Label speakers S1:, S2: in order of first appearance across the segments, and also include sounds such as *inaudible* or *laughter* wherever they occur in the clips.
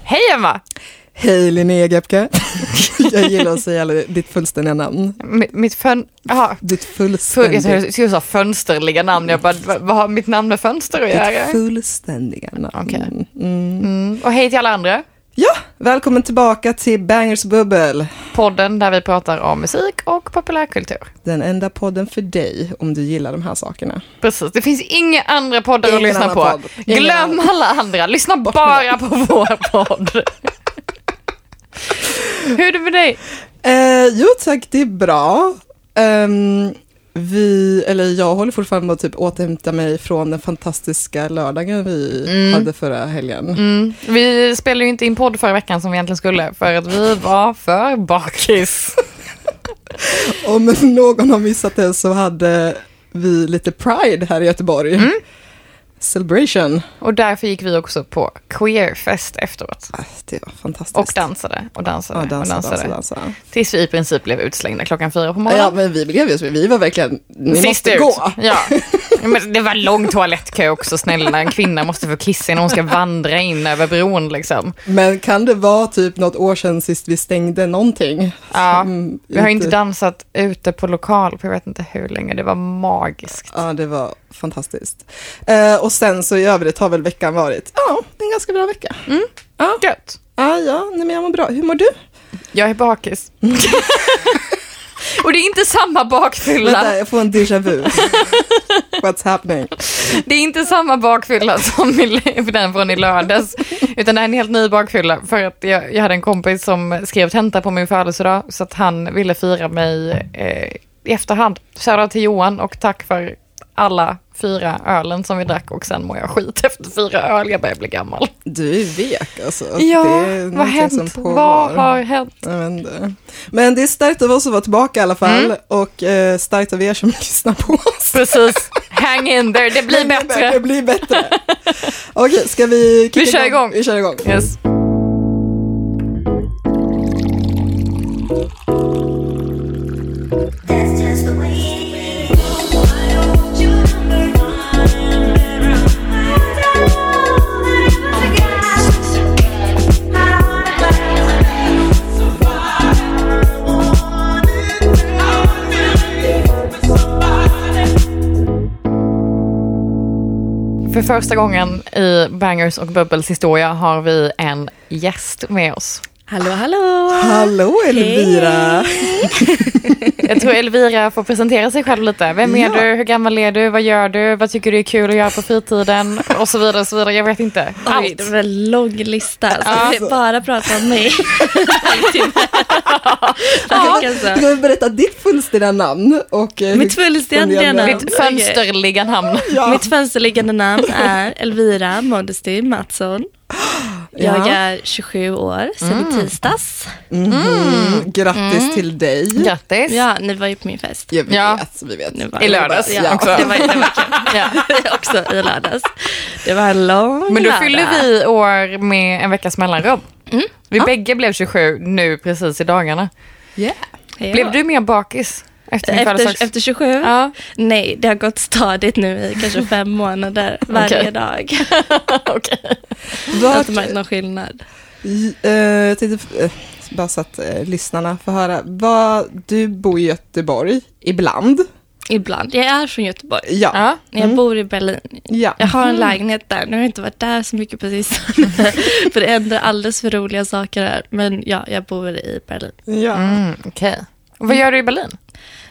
S1: Hej Emma!
S2: Hej Linnea Gepke. *laughs* Jag gillar att säga alla- ditt fullständiga namn.
S1: M- mitt fön... Jaha.
S2: Ditt
S1: Fö- Jag
S2: fullständiga,
S1: trodde du skulle säga fönsterliga namn. Jag bara, "Va- vad har mitt namn med fönster att göra?
S2: ditt fullständiga namn.
S1: Okej.
S2: Mm.
S1: Mm. Och hej till alla andra.
S2: Ja, välkommen tillbaka till Bangers Bubbel.
S1: Podden där vi pratar om musik och populärkultur.
S2: Den enda podden för dig om du gillar de här sakerna.
S1: Precis, det finns inga andra poddar att
S2: Ingen
S1: lyssna
S2: annan
S1: på.
S2: podd. Ingen
S1: Glöm alla andra, lyssna bara på *laughs* vår podd. Hur är det med dig?
S2: Eh, jo tack, det är bra. Ehm, vi, eller jag håller fortfarande på att typ återhämta mig från den fantastiska lördagen vi hade förra helgen.
S1: Mm. Vi spelade ju inte in podd förra veckan som vi egentligen skulle för att vi var för bakis.
S2: Om *laughs* någon har missat det så hade vi lite Pride här i Göteborg. Celebration.
S1: *laughs* Och därför gigick vi också på queerfest efteråt.
S2: Ah, Det var fantastiskt.
S1: Och dansade och dansade
S2: Ja, dansa,
S1: och dansade.
S2: dansa, dansa.
S1: Tills vi i princip blev utslängda klockan fyra på
S2: Ja,
S1: morgonen.
S2: men vi blev ju så. Vi var verkligen, ni måste
S1: ut.
S2: gå. *laughs*
S1: Ja. Men det var lång toalettkö också, snälla. En kvinna måste få kissa innan hon ska vandra in över bron. Liksom.
S2: Men kan det vara typ något år sedan sist vi stängde någonting? Mm,
S1: Ja.
S2: Som
S1: Vi har ju inte dansat ute på lokal på jag vet inte hur länge. Det var magiskt.
S2: Ja, det var fantastiskt. Eh, och sen så i övrigt har väl veckan varit, ja, en ganska bra vecka.
S1: Gött.
S2: Ah, ja, nej, men jag mår bra. Hur mår du?
S1: Jag är bakis.
S2: Mm.
S1: *laughs* Och det är inte samma
S2: Vänta,
S1: bakfylla.
S2: jag får en
S1: *laughs*
S2: déjà vu. What's happening?
S1: Det är inte samma bakfylla som i- den från i lördags. Utan det här är en helt ny bakfylla. För att jag, jag hade en kompis som skrev tenta på min födelsedag. Så att han ville fira mig eh, i efterhand. Shoutout till Johan och tack för alla fyra ölen som vi drack. Och sen mår jag skit efter fyra öl. Jag börjar bli gammal.
S2: Du är vek alltså.
S1: Ja,
S2: är
S1: vad har
S2: någonting som
S1: hänt?
S2: pågår.
S1: Vad har hänt?
S2: Jag vet inte. Men det är starkt av oss att vara tillbaka i alla fall
S1: Mm.
S2: och eh, starkt av er som *laughs* lyssnar på oss.
S1: Precis. Hang in there, det blir
S2: Det
S1: bättre.
S2: blir bättre.
S1: *laughs*
S2: Okej, ska vi kicka
S1: Vi kör igång.
S2: Vi kör igång.
S1: Yes.
S3: That's just the way it is. I don't want your number. I'm better off. I don't wanna play.
S1: För första gången i Bangers och Bubbles historia har vi en gäst med oss.
S4: Hallå, hallå!
S2: Hallå Elvira!
S1: Jag tror Elvira får presentera sig själv lite. Vem är
S2: Ja.
S1: du? Hur gammal är du? Vad gör du? Vad tycker du är kul att göra på fritiden? Och så vidare, och så vidare. Jag vet inte.
S4: Oj,
S1: Allt.
S4: det var en lång lista. Ska
S1: Alltså.
S4: vi bara prata
S1: *laughs*
S4: om mig? ja.
S2: Du kan väl berätta ditt fullständiga namn och eh,
S4: Mitt
S2: hur-
S4: fullständiga
S2: om det är
S4: namn.
S2: med-
S1: Mitt fönsterliga namn.
S4: Mitt fönsterliggande namn är Elvira Modesty Mattsson. Jag
S2: Ja.
S4: är 27 år sen i tisdags.
S2: Mm, Grattis till dig.
S1: Grattis.
S4: Ja, ni var ju på min fest.
S2: Ja, vi
S1: Ja.
S2: vet, vi vet.
S4: Nu var
S1: I lördags liksom.
S2: Ja.
S1: också.
S4: Det var, det var
S1: Ja.
S4: kul. *laughs* också i lördags. Det var en lång
S1: Men då
S4: lördag.
S1: fyller vi år med en veckas mellanrum.
S4: Mm.
S1: Vi bägge blev 27 nu precis i dagarna.
S2: Yeah.
S4: Ja.
S1: Blev du mer bakis efter din
S4: efter,
S1: födelsedag?
S4: efter 27?
S1: Ja.
S4: *laughs* Nej, det har gått stadigt nu i kanske fem månader varje
S1: Okej.
S4: dag.
S1: Okej.
S4: Jag har
S2: Vart,
S4: inte märkt någon skillnad.
S2: eh, jag tänkte, eh, bara så att eh, lyssnarna får höra, vad, du bor i Göteborg ibland.
S4: Ibland. Jag är från Göteborg.
S2: Ja.
S1: Ja.
S4: Jag bor i Berlin.
S2: Ja.
S4: Jag har en lägenhet där. Nu har jag inte varit där så mycket på sistone. för det händer alldeles för roliga saker här. Men ja, jag bor i Berlin.
S2: ja.
S1: Mm, Okej. Och Vad gör du i Berlin?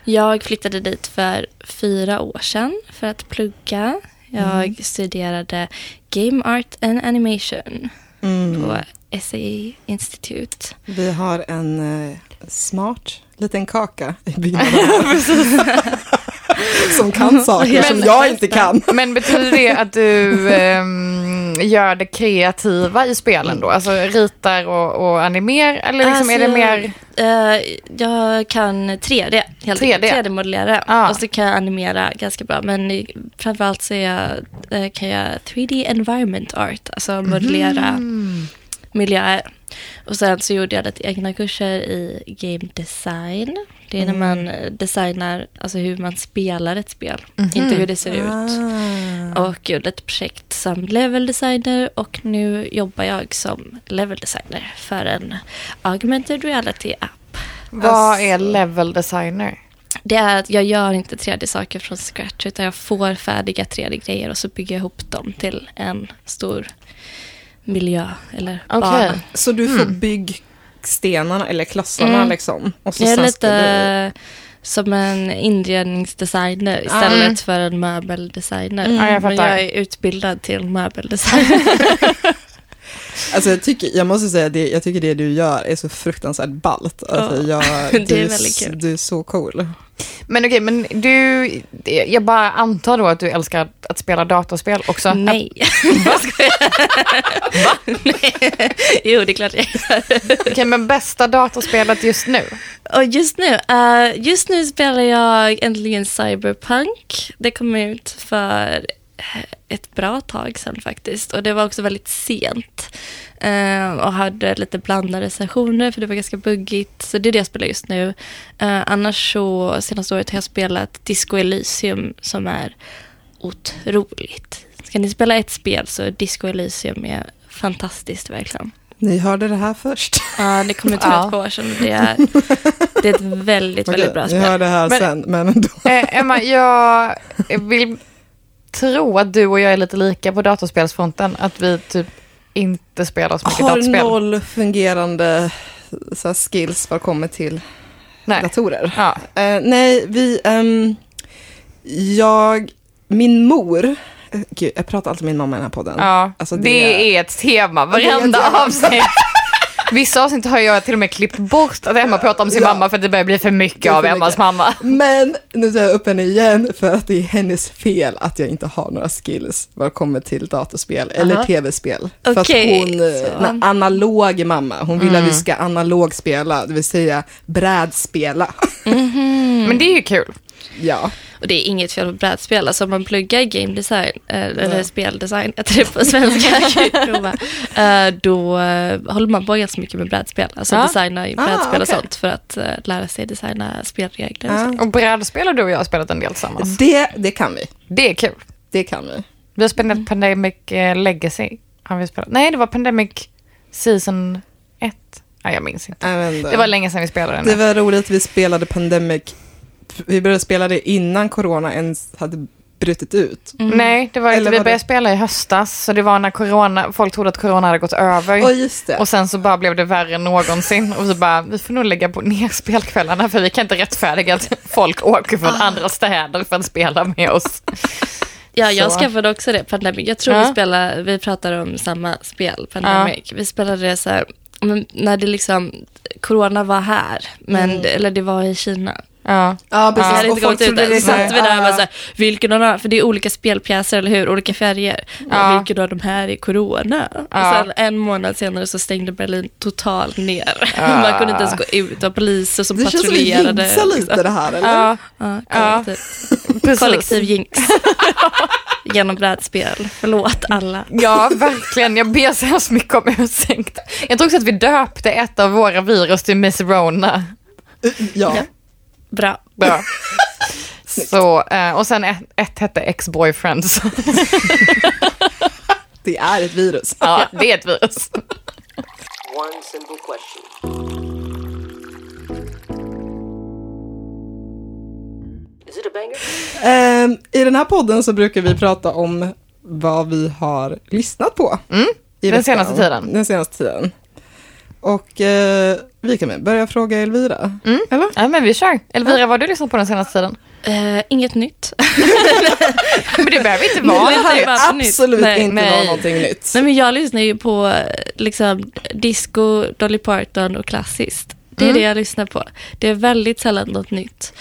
S4: Jag flyttade dit för fyra år sedan för att plugga. Jag studerade Game Art and Animation på SAE Institute.
S2: Mm. Vi har en eh, smart liten kaka
S4: *laughs*
S2: i byggnaden. *laughs* som kan saker
S4: Mm. Men-
S2: som jag inte kan.
S1: Men betyder det att du ehm, gör det kreativa i spelen då? Alltså ritar och, och animerar? Eller liksom är det
S4: Alltså,
S1: mer...
S4: eh, jag kan 3D, helt
S1: 3D.
S4: 3D-modellera.
S1: Ah.
S4: Och så kan jag animera ganska bra. Men i- framförallt så är jag, eh, kan jag 3D environment art, alltså
S1: Mhm.
S4: modellera miljöer. Och sen så gjorde jag lite egna kurser i game design. Det är när man eh, designar alltså hur man spelar ett spel, inte hur det ser ut.
S2: Ah.
S4: Och gjorde ett projekt som level designer och nu jobbar jag som level designer för en augmented reality app.
S1: Vad är level designer?
S4: Det är att jag gör inte 3D-saker från scratch utan jag får färdiga 3D-grejer och så bygger jag ihop dem till en stor miljö eller
S1: Okej.
S4: bana.
S2: Så du får byggstenarna eller klassarna
S4: Mm.
S2: liksom? Och så
S4: Jag är
S2: sen ska du...
S4: lite som en inredningsdesigner istället
S1: Mm.
S4: för en möbeldesigner.
S1: Ja, jag
S4: Men
S1: fattar.
S4: jag är utbildad till möbeldesigner.
S1: *laughs*
S2: Alltså jag, tycker, jag måste säga, det, jag tycker det du gör är så fruktansvärt ballt. Alltså jag,
S4: *laughs* det är
S2: du,
S4: väldigt
S2: s-
S4: kul.
S2: du är så cool.
S1: Men okej, men du, jag bara antar då att du älskar att, att spela datorspel också.
S4: Nej. Vad ska *laughs* jag? *laughs* Nej. Jo, det är klart jag gör.
S1: Att- Okej, men bästa datorspelet just nu?
S4: Och just nu, eh, just nu spelar jag äntligen Cyberpunk. Det kom ut för eh, ett bra tag sedan faktiskt. Och det var också väldigt sent. Eh, och hade lite blandade sessioner för det var ganska buggigt. Så det är det jag spelar just nu. Eh, annars så, senaste året har jag spelat Disco Elysium som är otroligt. Ska ni spela ett spel så Disco Elysium är fantastiskt verkligen.
S2: Ni hörde det här *laughs* först.
S4: Ja, det kom ut för
S1: Ja.
S4: ett par år sedan. Det är, det är ett väldigt, väldigt bra
S2: Ni hör
S4: spel.
S2: det här
S1: Men-
S2: sen, men ändå.
S1: Eh, Emma, jag vill tro att du och jag är lite lika på datorspelsfronten. Att vi typ inte spelar så mycket
S2: Har
S1: datorspel.
S2: noll fungerande så här, skills vad kommer till
S1: Nej.
S2: datorer.
S1: Ja.
S2: Eh, nej, vi... ehm, jag... Min mor... eh, Gud, jag pratar alltid med min mamma i den här podden.
S1: Ja,
S2: Alltså,
S1: det,
S2: det-
S1: är ett tema.
S2: det är ett
S1: Varenda *laughs*
S2: tema.
S1: avsnitt. Vissa avsnitt har jag till och med klippt bort att Emma pratar om sin
S2: Ja.
S1: mamma för att det börjar bli för mycket
S2: Det är
S1: av
S2: för
S1: Emmas
S2: mycket.
S1: mamma.
S2: Men nu tar jag upp henne igen för att det är hennes fel att jag inte har några skills vad det kommer till datorspel eller tv-spel. För att
S4: Okej,
S2: hon, eh,
S4: så.
S2: en analog mamma, hon vill att vi ska analog spela, det vill säga brädspela.
S1: Men det är ju kul.
S2: ja.
S4: Och det är inget fel på brädspel. Alltså om man pluggar game design, eh, eller speldesign, heter det
S1: *laughs*
S4: på svenska, prova, eh, då eh, håller man på ganska mycket med brädspel. Alltså
S1: Ja.
S4: designa i
S2: Ah,
S4: brädspel och
S2: okej. Ah,
S4: sånt för att eh, lära sig designa spelregler. Och
S2: Ja.
S4: sånt.
S1: Och brädspel har du och jag spelat en del tillsammans.
S2: Det, det kan vi.
S1: Mm. Det är kul.
S2: Det kan vi.
S1: Vi har spelat Pandemic eh, Legacy. Har vi spelat. Nej, det var Pandemic Season 1. Nej, jag minns inte.
S2: Även
S1: Det var länge sedan vi spelade
S2: Det
S1: den.
S2: var roligt, vi spelade Pandemic, vi började spela det innan corona ens hade brutit ut.
S1: Nej, det var inte.
S2: Eller
S1: Vi
S2: var det-
S1: började spela i höstas. Så det var när corona, folk trodde att corona hade gått
S4: Mm.
S1: över.
S2: Och just det.
S1: Och sen så bara blev det värre än någonsin. Och vi bara, vi får nog lägga på- ner spelkvällarna för vi kan inte rättfärdiga att folk åker från andra städer för att spela med oss.
S4: Ja, jag
S1: Så.
S4: skaffade också det, Pandemic. Jag tror
S1: Ja.
S4: vi spelar, vi pratar om samma spel, Pandemic. Vi spelade det så här, men när det liksom, corona var här, men,
S2: Mm.
S4: eller det var i Kina.
S1: Ja.
S2: Ja,
S4: Vi hade
S2: precis.
S4: inte gått ut
S2: trodde liksom
S4: än. Så
S2: här-
S4: satt vi där och var
S2: ja.
S4: så här, vilken av de här, för det är olika spelpjäser, eller hur? Olika färger.
S1: Ja.
S4: Ja. Vilken av de här är corona?
S1: Ja.
S4: Och sen en månad senare så stängde Berlin totalt ner. *laughs* Man kunde inte ens gå ut, det var poliser som
S2: Det känns som vi
S4: patrullerade. Liksom.
S2: jinxar lite det här, eller?
S1: Ja,
S4: Ja,
S1: Ja.
S4: kollektiv,
S1: precis.
S2: *laughs*
S4: kollektiv jinx. Genom brädspel. Förlåt alla.
S1: Ja, verkligen. Jag ber så hemskt mycket om ursäkt. Jag tror också att vi döpte ett av våra virus till Miss Rona.
S2: Ja.
S4: Ja. Bra.
S1: Bra. *laughs* Så, eh, och sen ett, ett hette ex-boyfriend. Så,
S2: det är ett virus.
S1: ja, det är ett virus.
S5: One simple question. Is it a banger?
S2: Ehm, I den här podden så brukar vi prata om vad vi har lyssnat på.
S4: Mm.
S2: I
S1: den
S2: veckan.
S1: senaste tiden.
S2: Den senaste tiden. Och eh, vi kan väl börja fråga Elvira. Eller?
S1: Ja, men vi kör. Elvira, vad har du lyssnat på den senaste tiden?
S4: Eh,
S2: *laughs*
S4: inget nytt.
S1: Men det behöver inte vara
S4: Nej,
S1: något
S4: men-
S1: nytt.
S4: Vad för nytt?
S2: Absolut
S4: Nej,
S2: inte
S1: nej.
S2: vara någonting nytt.
S4: Nej men jag lyssnar ju på eh, liksom disco, Dolly Parton och klassiskt. Det är
S2: Mm.
S4: det jag lyssnar på. Det är väldigt sällan något nytt.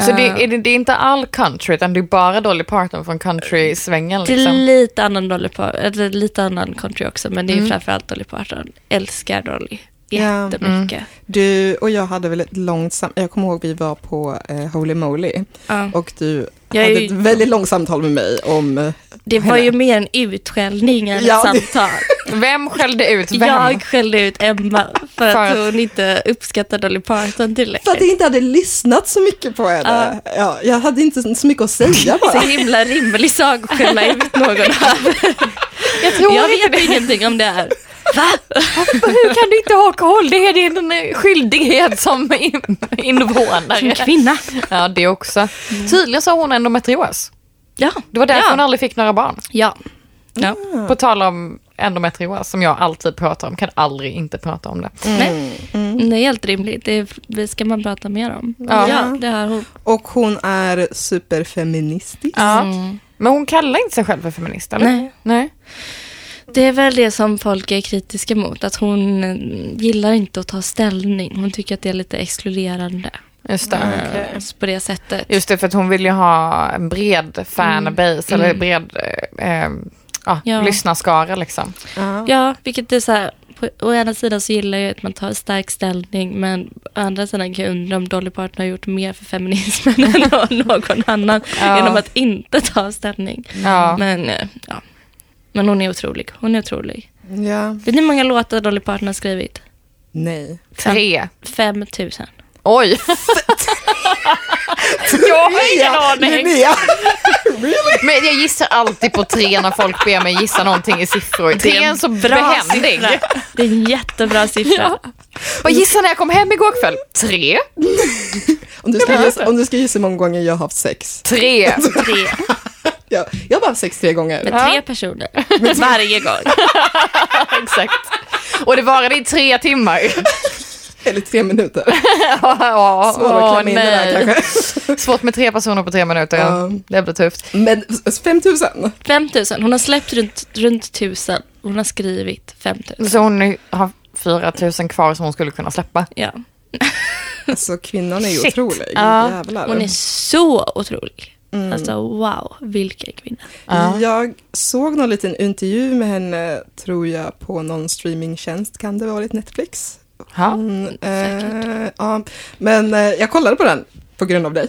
S1: Så det
S4: Eh,
S1: är, det, det är inte all country, utan det är bara Dolly Parton från country-svängen
S4: det är
S1: liksom.
S4: lite annan Dolly Parton, eller lite annan country också men det är
S1: Mm.
S4: framförallt Dolly Parton. Älskar Dolly
S2: Ja.
S4: jättemycket.
S2: Du och jag hade väl ett långt samtal, jag kommer ihåg vi var på eh, Holy Moly
S1: Mm.
S4: Ja.
S2: och du
S4: Jag är
S2: hade
S4: ju-
S2: ett väldigt långt samtal med mig om eh,
S4: Det var ju mer en utskällning än ett
S2: Ja, det-
S1: *laughs*
S4: samtal.
S1: Vem skällde ut vem? *laughs*
S4: Jag skällde ut Emma för att,
S1: För att-
S4: hon inte uppskattar Dolly Parton
S2: För att jag
S4: tillräckligt.
S2: inte hade lyssnat så mycket på henne. Ja, jag hade inte så mycket att säga
S4: Så *laughs*
S2: bara.
S4: himla rimlig sagoskillnad ut någon här.
S1: *laughs* Jag tror
S4: Jag
S1: inte
S4: vet
S1: det.
S4: ingenting om
S1: *laughs*
S4: det här. Va?
S1: Hur kan du inte ha koll? Det är din eh, skyldighet som in-
S4: Som
S1: invånare.
S4: kvinna.
S1: Ja, det också. Tydligen så har hon endometrios.
S4: Ja.
S1: Det var därför
S4: ja.
S1: hon aldrig fick några barn.
S4: Ja. ja.
S1: På tal om endometrios, som jag alltid pratar om, kan aldrig inte prata om det.
S4: Nej. Det är helt rimligt. Det, är, det ska man prata mer om.
S1: Mm. Ja.
S4: Ja, det har hon.
S2: Och hon är superfeministisk.
S1: Ja.
S4: Mm.
S1: Men hon kallar inte sig själv för feminist, eller?
S4: Nej.
S1: Mm. Nej.
S4: Det är väl det som folk är kritiska mot. Att hon eh, gillar inte att ta ställning. Hon tycker att det är lite exkluderande.
S1: Just det.
S4: eh, så på det sättet.
S1: Just det, för att hon vill ju ha en bred fanbase, eller bred eh, eh, ja,
S4: Ja.
S1: lyssnarskara liksom.
S4: Ja, vilket är så här. På, å ena sidan så gillar jag att man tar stark ställning men å andra sidan kan jag undra om Dolly Parton har gjort mer för feminismen *laughs* än någon annan
S1: Ja.
S4: genom att inte ta ställning.
S1: Ja.
S4: Men, eh, ja. men hon är otrolig. Hon är otrolig.
S2: Ja.
S4: Vet ni hur många låtar Dolly Parton har skrivit?
S2: Nej.
S1: Tre.
S4: 5000.
S1: *laughs* Oj! jag har ingen aning.
S2: Linnea.
S1: Men jag gissar alltid på tre när folk ber mig gissa någonting i siffror. Tre är en så behändig.
S4: siffra.
S1: *laughs*
S4: Det är en jättebra siffra.
S1: Vad gissade när jag kom hem igår kväll? Tre.
S2: Om du, ska gissa, om du ska gissa hur många gånger jag har haft sex.
S1: Tre.
S4: Tre.
S2: Jag, jag har bara haft sex tre gånger.
S4: Med tre personer. *laughs* Varje gång.
S1: Exakt. Och det varade i tre timmar.
S2: Eller tre minuter.
S1: Ja,
S2: Svårt att klämma in det där
S1: nej.
S2: kanske.
S1: Svårt med tre personer på tre minuter. Ja.
S2: Ja.
S1: Det blir tufft.
S2: Men 5000.
S4: 5000. Hon har släppt runt, runt 1000. Hon har skrivit 5000.
S1: Så hon har 4 000 kvar som hon skulle kunna släppa.
S4: Ja.
S2: Alltså kvinnan är ju
S1: Shit.
S2: otrolig.
S1: Ja.
S2: Jävlar.
S4: Hon är så otrolig. Alltså wow, vilken kvinna.
S2: Mm. Jag såg någon liten intervju med henne, tror jag, på någon streamingtjänst. Kan det ha varit Netflix?
S1: Ja,
S2: Hon,
S4: säkert.
S2: eh, ja. Men eh, jag kollade på den på grund av dig.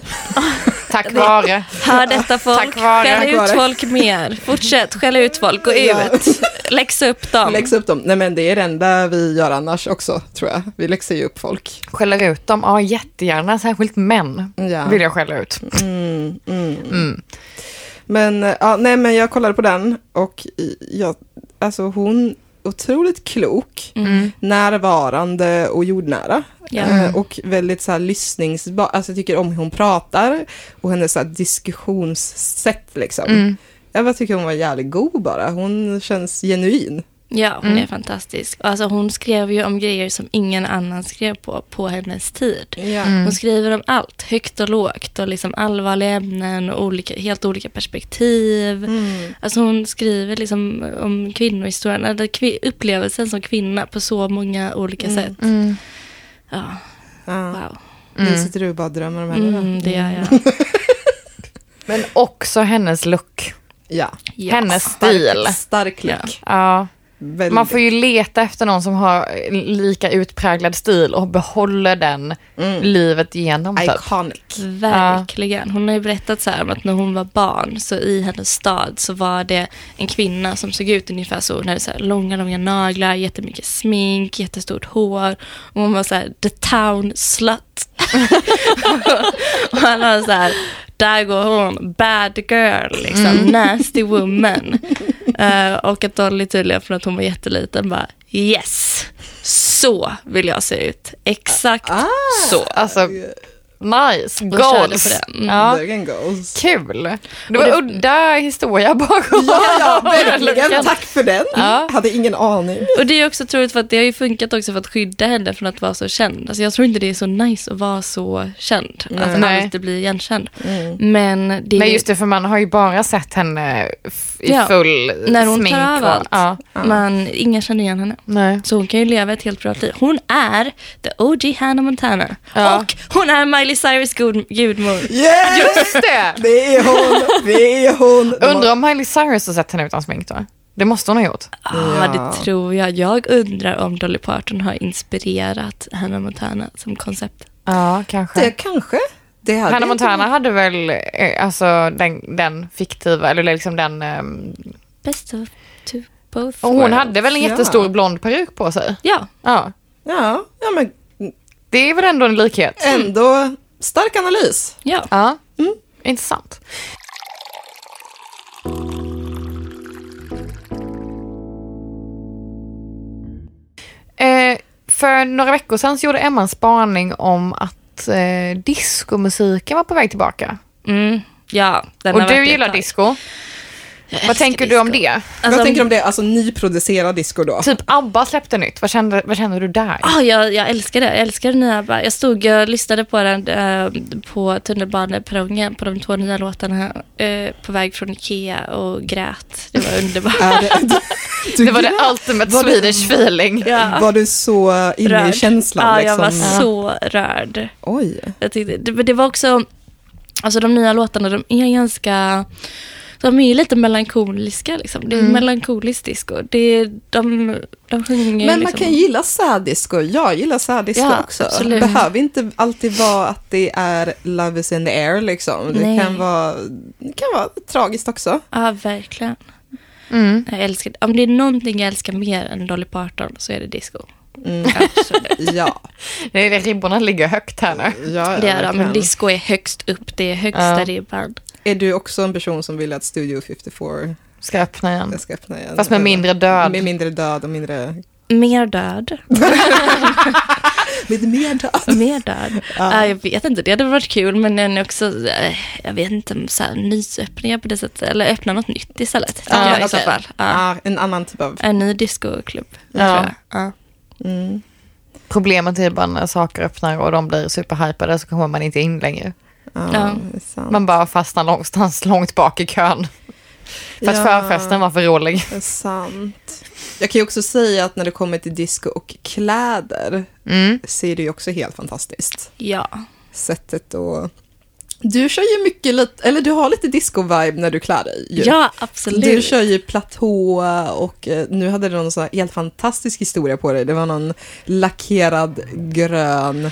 S1: tack vare.
S4: Hör detta folk,
S1: Tack vare.
S4: skäll
S2: Tack
S4: ut
S2: vare.
S4: folk mer. Fortsätt skälla ut folk, gå
S2: Ja.
S4: ut. Läxa upp dem.
S2: Läxa upp dem. Nej men det är det enda vi gör annars också, tror jag. Vi läxar ju upp folk.
S1: Skäller ut dem? Ja, jättegärna. Särskilt män
S2: Ja.
S1: vill jag skälla ut.
S2: Mm, mm. Men, eh, ja, nej, men jag kollade på den och i- jag, alltså hon otroligt klok,
S1: Mm.
S2: närvarande och jordnära.
S4: Ja.
S2: Eh, Och väldigt så här lyssningsbar, alltså jag tycker om hur hon pratar och hennes så här diskussionssätt liksom.
S1: Mm.
S2: Jag bara tycker hon var jävligt god bara, hon känns genuin.
S4: Ja, hon är fantastisk. Alltså, hon skrev ju om grejer som ingen annan skrev på, på hennes tid.
S2: Ja.
S1: Mm.
S4: Hon skriver om allt, högt och lågt och liksom allvarliga ämnen och olika, helt olika perspektiv. Alltså hon skriver liksom om kvinnohistorien, eller kvi- upplevelsen som kvinna på så många olika sätt.
S1: Mm.
S4: Ja,
S2: Ja.
S4: wow.
S2: Nu sitter du och bara och drömmer om henne.
S4: Mm, det gör jag.
S1: Men också hennes look.
S2: Ja.
S4: Ja.
S1: Hennes stil.
S2: Stark look.
S1: Ja.
S2: Väldigt.
S1: Man får ju leta efter någon som har lika utpräglad stil och behåller den livet igenom. Typ.
S2: Iconic.
S4: Verkligen. Hon har ju berättat så här om att när hon var barn så i hennes stad så var det en kvinna som såg ut ungefär så. Hon hade så här långa, långa naglar, jättemycket smink, jättestort hår. Och hon var så här the town slut. *laughs* och alla var så här, där går hon, bad girl, liksom, nasty woman. Eh, och att Dolly tydligen från att hon var jätteliten bara yes, så vill jag se ut.
S2: Ah,
S4: Exakt så.
S1: Alltså, nice.
S4: Då körde jag på
S1: Goals.
S4: den.
S2: Mm.
S1: Ja.
S2: There goes.
S1: Kul. Det var udda historia bakom.
S2: Ja,
S1: *laughs*
S2: ja,
S1: Luckan.
S2: verkligen. Tack för den. Hade ingen aning.
S4: Och det är också troligt för att det har ju funkat också för att skydda henne från att vara så känd. Alltså jag tror inte det är så nice att vara så känd. Att
S1: Nej.
S4: alltid bli igenkänd. Men det är
S1: Nej just det, för man har ju bara sett henne eh, f- i
S4: Ja,
S1: full
S4: när hon
S1: smink.
S4: tar av
S1: va?
S4: allt.
S1: Ja.
S4: Man, ingen känner igen henne.
S1: Nej.
S4: Så hon kan ju leva ett helt privat liv. Hon är the OG Hannah Montana.
S1: Ja.
S4: Och hon är Miley Cyrus gud, gudmor.
S2: Yeah!
S1: Just *laughs* det!
S2: Det är hon, det är hon.
S1: Undrar om Miley Cyrus har sett henne utan smink då? Det måste hon ha gjort.
S4: Ja,
S2: Ja.
S4: Ah, det tror jag. Jag undrar om Dolly Parton har inspirerat Hannah Montana som koncept.
S1: Ja, kanske.
S2: Det kanske. Det hade
S1: Hannah
S2: jag inte-
S1: Montana hade väl eh, alltså, den, den fiktiva, eller liksom den... ehm,
S4: Best of two both
S1: Och hon
S4: worlds.
S1: hade väl en
S2: Ja.
S1: jättestor blond peruk på sig?
S4: Ja,
S1: Ja.
S2: Ja, ja men
S1: Det är väl ändå en likhet?
S2: ändå stark analys.
S4: ja.
S1: Ja. Mm. Intressant. Eh, för några veckor sedan så gjorde Emma en spaning om att eh, diskomusiken var på väg tillbaka.
S4: Mm, ja den
S1: Och
S4: har
S1: du
S4: varit
S1: gillar
S4: ett tag.
S1: disco.
S4: Jag
S1: Vad
S4: älskar
S1: tänker du om
S4: disco.
S1: det?
S4: Alltså,
S2: Vad tänker du om det? Alltså nyproducerad disco då?
S1: Typ ABBA släppte nytt. Vad kände, vad kände du där?
S4: Ah, jag, jag älskar det. Jag älskar nya ABBA. Jag stod och lyssnade på den eh, på tunnelbaneperrongen på de två nya låtarna eh, på väg från Ikea och grät. Det var
S2: *laughs*
S4: underbart.
S2: Är det, du,
S1: Det var det ultimate
S2: Var det-
S1: Swedish feeling.
S4: ja.
S2: Var du så inne i känslan?
S4: Ja, jag
S2: liksom?
S4: var så rörd.
S2: Oj.
S4: Jag tyckte, det, men det var också, alltså de nya låtarna de är ganska, de är ju lite melankoliska liksom. Det är melankoliskt disco. Det är, de, de sjunger
S2: Men man
S4: liksom.
S2: kan gilla särdisco. Jag gillar särdisco
S4: Ja,
S2: också.
S4: absolut.
S2: behöver inte alltid vara att det är love is in the air liksom. Det
S4: Nej.
S2: kan, vara, det kan vara tragiskt
S4: *laughs*
S2: också.
S4: Ja, verkligen.
S1: Mm.
S4: Jag älskar, om det är någonting jag älskar mer än Dolly Parton så är det disco. Absolut.
S2: Ja,
S1: Det är det, ribborna ligger högt här nu.
S2: ja
S4: Det är det, men
S2: verkligen.
S4: disco är högst upp, det är högsta
S1: Ja.
S4: ribban.
S2: Är du också en person som vill att Studio 54
S1: Ska öppna igen.
S2: ska öppna igen?
S1: Fast med mindre död.
S2: Med mindre död och mindre...
S4: Mer död,
S2: Med mer död.
S4: mer död. Ja. jag vet inte, det hade varit kul men den är också, eh, jag vet inte, så här, nysöppningar på det sättet, eller öppna något nytt istället. tycker
S1: Ja,
S4: jag, i så
S1: okej.
S4: fall. *laughs* Ja.
S2: Ja, en annan typ av...
S4: En ny discoklubb,
S1: Ja.
S4: tror jag. Ja.
S2: Mm.
S1: Problemet är bara när saker öppnar och de blir superhypade så kommer man inte in längre.
S2: Ja,
S4: Ja.
S2: Ah, det är sant.
S1: Man bara fastnar någonstans *laughs* långt bak i kön. För att
S2: Ja.
S1: förfesten var för rolig.
S2: Det är sant. Jag kan ju också säga att när det kommer till disco och kläder
S1: Mm.
S2: så är det ju också helt fantastiskt.
S4: ja.
S2: sättet att... Du kör ju mycket lite, eller du har lite disco-vibe när du klär dig. Ju.
S4: ja, absolut.
S2: Du kör ju platå och eh, nu hade du någon sån här helt fantastisk historia på dig. Det var någon lackerad grön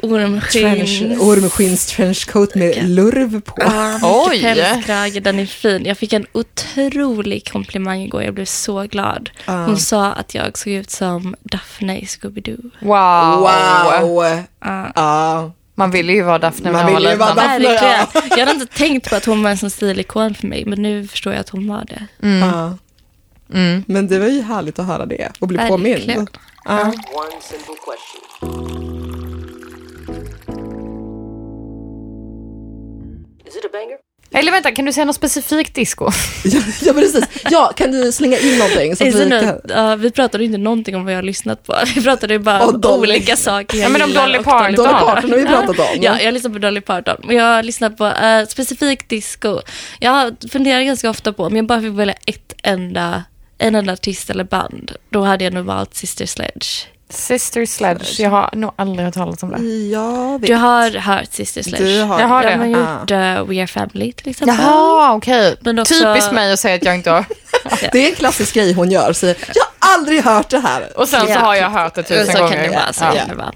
S2: trench,
S4: Ormskinn.
S2: ormskins trenchcoat med lurv på.
S1: Oj.
S4: Oj! Pälskrage, den är fin. Jag fick en otrolig komplimang igår. Jag blev så glad.
S2: Ja.
S4: Hon sa att jag såg ut som Daphne i Scooby-Doo.
S1: Wow.
S2: Wow! Ah.
S4: Ja.
S2: Ja.
S1: Man ville ju vara Daphne
S2: Man
S1: när man var
S2: ville ju vara
S1: liten.
S2: Daphne.
S4: Verkligen. Jag hade inte tänkt på att hon var en sån stilikon för mig, men nu förstår jag att hon var det.
S2: Ja.
S1: Mm.
S2: Ah. Men det var ju härligt att höra det och bli
S4: Verkligen.
S2: påmind. Ja.
S5: One simple question. Is it a banger?
S1: Eller vänta, kan du säga något specifikt disco?
S2: *laughs* ja, precis. Ja, kan du slänga in någonting? Så att vi
S4: Isn't
S2: kan...
S4: it? Ja, vi pratade ju inte någonting om vad jag har lyssnat på. *laughs* Vi pratade ju bara
S2: Och
S4: om
S2: Dolly.
S4: olika saker jag
S1: Ja, men om
S4: gillar
S1: Dolly
S4: och
S1: Parton.
S2: Dolly Parton har vi pratat om.
S4: Ja, jag lyssnar på Dolly Parton. Men jag har lyssnat på eh, specifikt disco. Jag funderar ganska ofta på om jag bara fick välja ett enda, en enda artist eller band. Då hade jag nog valt Sister Sledge.
S1: Sister Sledge, jag har nog aldrig hört talas om det.
S2: Jag vet.
S4: Du har hört Sister Sledge?
S2: Du har
S1: Jag har
S4: De har
S1: det.
S4: gjort eh, We Are Family till exempel.
S1: Jaha, okej.
S4: Men också-
S1: Typiskt mig att säga att jag inte har.
S2: Det är en klassisk grej hon gör. Säger, jag har aldrig hört det här.
S1: Och sen så
S4: Ja.
S1: har jag hört det tusen
S4: så
S1: gånger.
S4: Kan det vara, så
S1: ja.
S4: kan det vara.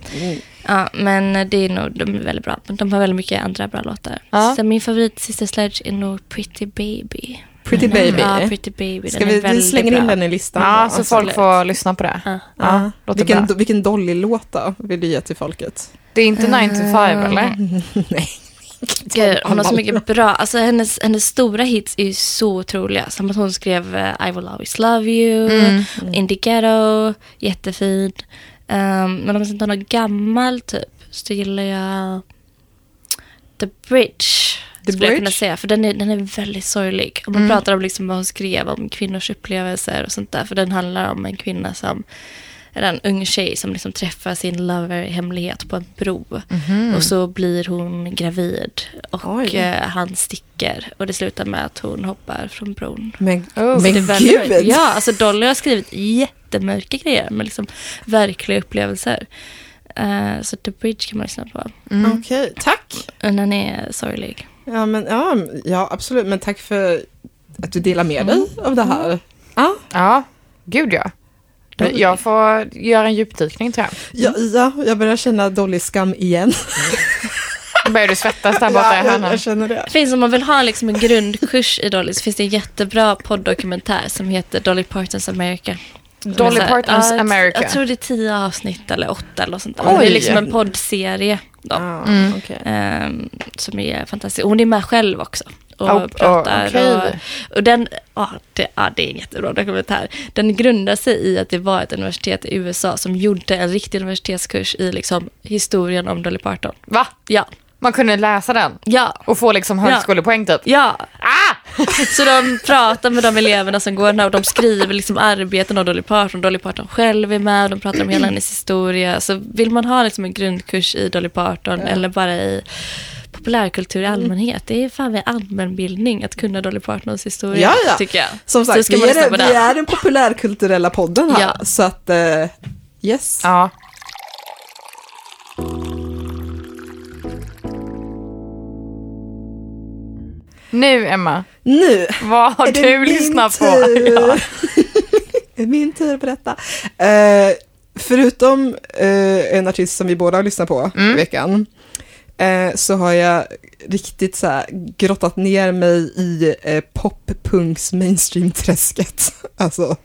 S4: Ja, men det är nog, de är väldigt bra. Men De har väldigt mycket andra bra låtar.
S1: Ja.
S4: Så min favorit Sister Sledge är nog Pretty Baby.
S2: Mm. Pretty
S4: Den är-
S2: Baby.
S4: Ja, Pretty Baby.
S2: Ska
S4: den
S2: vi,
S4: är
S2: vi
S4: väldigt
S2: slänger
S4: bra.
S2: in den i listan?
S1: Ja,
S2: då? Alltså,
S1: så folk får lyssna på det.
S4: Ja.
S1: Ja, låter
S2: vilken,
S1: bra.
S2: vilken Dolly-låt då vill du ge till folket?
S1: Det är inte 9 to 5 eller?
S2: *laughs* Nej.
S4: Gud, hon har så mycket bra. Alltså hennes, hennes stora hits är ju så otroliga. Som att hon skrev eh, I will always love you,
S2: Mm.
S1: Mm.
S4: In the ghetto, jättefin. Ehm, men om man ska ta något gammal typ så gillar jag The Bridge.
S2: The
S4: skulle jag
S2: Bridge? Mm.
S4: kunna säga, för den är, den är väldigt sorglig. Om man pratar om liksom vad hon skrev om kvinnors upplevelser och sånt där. För den handlar om en kvinna som eller en ung tjej som liksom träffar sin lover i hemlighet på en bro. Och så blir hon gravid och
S2: Mhm. Oj.
S4: eh, han sticker. Och det slutar med att hon hoppar från bron.
S2: Men,
S1: Oh.
S2: men
S4: Alltså, Det är väldigt-
S2: gud!
S4: Ja, alltså Dolly har skrivit jättemörka grejer med liksom verkliga upplevelser. Eh, så The Bridge kan man lyssna på.
S2: Okej, tack.
S4: Och Den är sorglig.
S2: Ja, men, ja, ja, absolut. Men tack för att du delar med dig av det här. Ja,
S1: Ja, gud ja. Jag får göra en djupdykning tror jag.
S2: ja, ja, jag börjar känna Dolly-skam igen.
S1: Börjar du svettas där borta
S2: Ja,
S1: i hörnan?
S2: jag känner det.
S4: Det finns om man vill ha liksom en grundkurs i Dolly så finns det en jättebra podd-dokumentär som heter Dolly Partons America. Som är
S1: Dolly
S4: så här-
S1: Partons
S4: ja, jag-
S1: America.
S4: Jag tror det är tio avsnitt eller åtta eller något sånt där. Men Det
S2: Oj.
S4: är liksom en poddserie då,
S2: Ah, okej.
S4: ehm, som är fantastisk. Och Hon är med själv också. Och
S1: Oh, oh,
S4: pratar.
S1: okej.
S4: och, och den, ja det, ja, det är en jättebra dokumentär. Den grundar sig i att det var ett universitet i USA som gjorde en riktig universitetskurs i liksom, historien om Dolly Parton.
S1: Va?
S4: Ja,
S1: Man kunde läsa den
S4: ja,
S1: och få liksom högskolepoäng typ.
S4: ja.
S1: Ah!
S4: *laughs* Så de pratar med de eleverna som går den här och de skriver liksom arbeten av Dolly Parton. Dolly Parton själv är med och de pratar om hela hennes historia. Så vill man ha liksom en grundkurs i Dolly Parton eller bara i populärkultur
S2: Mm.
S4: i allmänhet. Det är fan med allmänbildning att kunna Dolly Partons historia
S2: Ja, ja.
S4: tycker jag.
S2: Som
S4: så
S2: sagt,
S4: ska
S2: vi
S4: man lyssna
S2: är, vi
S4: på den.
S2: är den populärkulturella podden här.
S4: Ja.
S2: Så att, eh, yes.
S1: Ja. Nu Emma,
S2: Nu
S1: vad har
S2: är det
S1: du
S2: min
S1: lyssnat på?
S2: tur.
S1: *laughs* Ja.
S2: Det är min tur att berätta. Eh, förutom eh, en artist som vi båda har lyssnat på
S1: Mm.
S2: i veckan, eh, så har jag riktigt så här grottat ner mig i eh, poppunks mainstream-träsket. *laughs* alltså,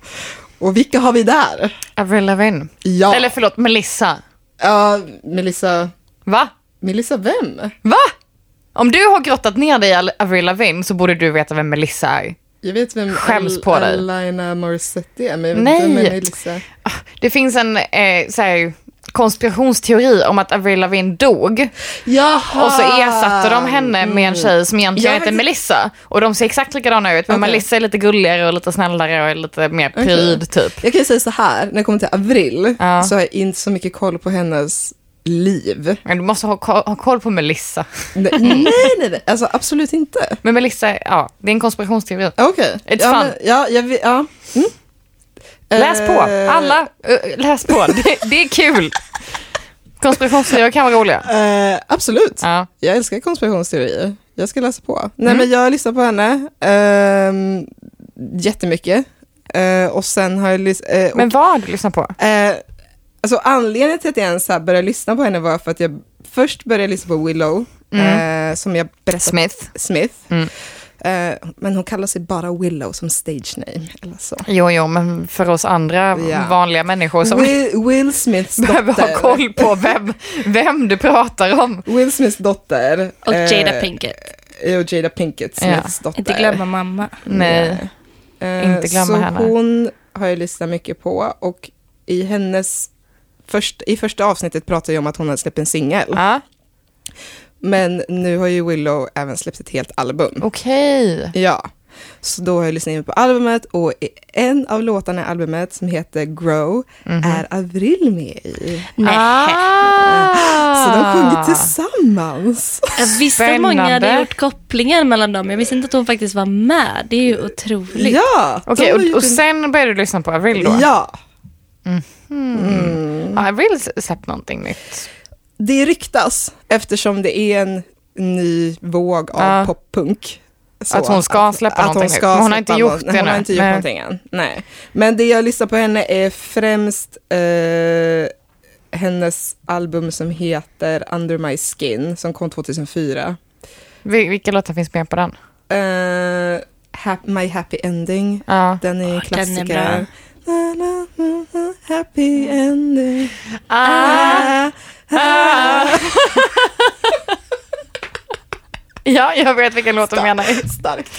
S2: och vilka har vi där?
S1: Avril Lavigne.
S2: Ja,
S1: Eller förlåt, Melissa.
S2: ja Melissa,
S1: Va?
S2: Melissa vem?
S1: Va? Om du har grottat ner dig i Al- Avril Lavigne så borde du veta vem Melissa är.
S2: Jag vet vem
S1: Skäms
S2: Al-
S1: på dig.
S2: Alina Morissette är, men jag vet
S1: Nej.
S2: inte vem Melissa
S1: Ah, Det finns en eh, så här, konspirationsteori om att Avril Lavigne dog
S2: Jaha!
S1: och så ersatte de henne med en tjej som egentligen
S2: Ah. Mm. Jag
S1: heter
S2: vet-
S1: Melissa. Och de ser exakt likadana ut men
S2: Okej.
S1: Melissa är lite gulligare och lite snällare och lite mer pryd typ.
S2: Jag kan ju säga så här, när det kommer till Avril
S1: Ja.
S2: så har jag inte så mycket koll på hennes liv.
S1: Men du måste ha, ko- ha koll på Melissa.
S2: Nej, nej, nej, nej. alltså absolut inte. Ah,
S1: Men Melissa, ja, det är en konspirationsteori.
S2: Okej.
S1: It's
S2: ja,
S1: fun.
S2: men- ja, jag, vet- ja. Mm.
S1: Läs på,
S2: Eh,
S1: alla, eh, läs på. *laughs* Det, det är kul. Konspirationsteorier kan vara roliga.
S2: eh, absolut.
S1: Ja. Mm.
S2: Jag älskar konspirationsteorier. Jag ska läsa på. Nej, men jag lyssnar på henne ehm, jättemycket. Eh, och sen har jag lyssnat... Eh,
S1: Men vad har du lyssnat på?
S2: Eh, alltså anledningen till att jag ens så här började lyssna på henne var för att jag först började lyssna på Willow,
S1: Mm.
S2: eh, som jag berättade
S1: Smith.
S2: Smith.
S1: Mm.
S2: Eh, men hon kallar sig bara Willow som stage name. Eller så.
S1: Jo, jo, men för oss andra
S2: Ja.
S1: vanliga människor som
S2: Will, Will Smiths
S1: *laughs* behöver
S2: dotter.
S1: ha koll på vem, vem du pratar om.
S2: Will Smiths dotter.
S4: Och
S2: eh,
S4: Jada Pinkett.
S2: Och Jada Pinkett,
S1: Ja.
S2: Smiths dotter.
S4: Inte glömma mamma.
S1: Nej.
S2: Eh,
S1: Inte glömma
S2: så
S1: henne.
S2: hon har jag lyssnat mycket på och i hennes först, i första avsnittet pratade jag om att hon hade släppt en singel.
S1: Ja,
S2: Men nu har ju Willow även släppt ett helt album.
S1: Okej.
S2: Ja. Så då har jag lyssnat in på albumet och i en av låtarna i albumet som heter Grow
S1: Mhm.
S2: är Avril med i.
S4: Nej.
S1: Ah.
S2: Så de sjunger tillsammans.
S4: Jag visste att många hade
S1: Spännande.
S4: gjort kopplingen mellan dem. Jag visste inte att hon faktiskt var med. Det är ju otroligt.
S2: Ja. de
S1: Okej,
S2: har gjort
S1: och, och
S2: en-
S1: sen började du lyssna på Avril då?
S2: Ja.
S1: Ja, Avril släppte någonting nytt.
S2: Det ryktas eftersom det är en ny våg av
S1: Ja.
S2: poppunk. Så
S1: Att hon ska släppa någonting
S2: hon ska
S1: nytt. Men hon har inte
S2: släppa
S1: gjort
S2: någon-
S1: det
S2: Hon har
S1: nu.
S2: inte gjort
S1: Nej.
S2: någonting än. Nej. Men det jag lyssnar på henne är främst eh, hennes album som heter Under My Skin som kom 2004.
S1: Vil- vilka låtar finns med på den?
S2: Eh, Hap- My Happy Ending.
S1: Ja.
S2: Den är en
S4: Åh, den är
S2: klassiker.
S4: bra.
S2: Na, na, na, na, happy ending. *laughs* Ah,
S1: ja, jag vet vilken låt du menar.
S2: starkt.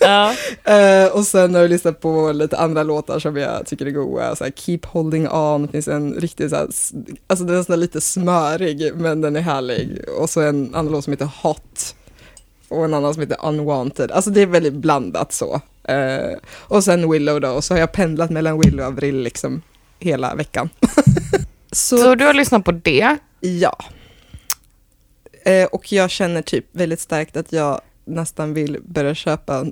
S1: Ja.
S2: Eh, och sen har jag lyssnat på lite andra låtar som jag tycker är goa, så här Keep Holding On, det finns en riktigt så här, s- alltså den är sån där lite smörig men den är härlig. Och så en annan låt som heter Hot och en annan som heter Unwanted, alltså det är väldigt blandat så. Eh, och sen Willow då, och så har jag pendlat mellan Willow och Avril liksom hela veckan. *laughs* så,
S1: Så du har lyssnat på det?
S2: ja. Eh, och jag känner typ väldigt starkt att jag nästan vill börja köpa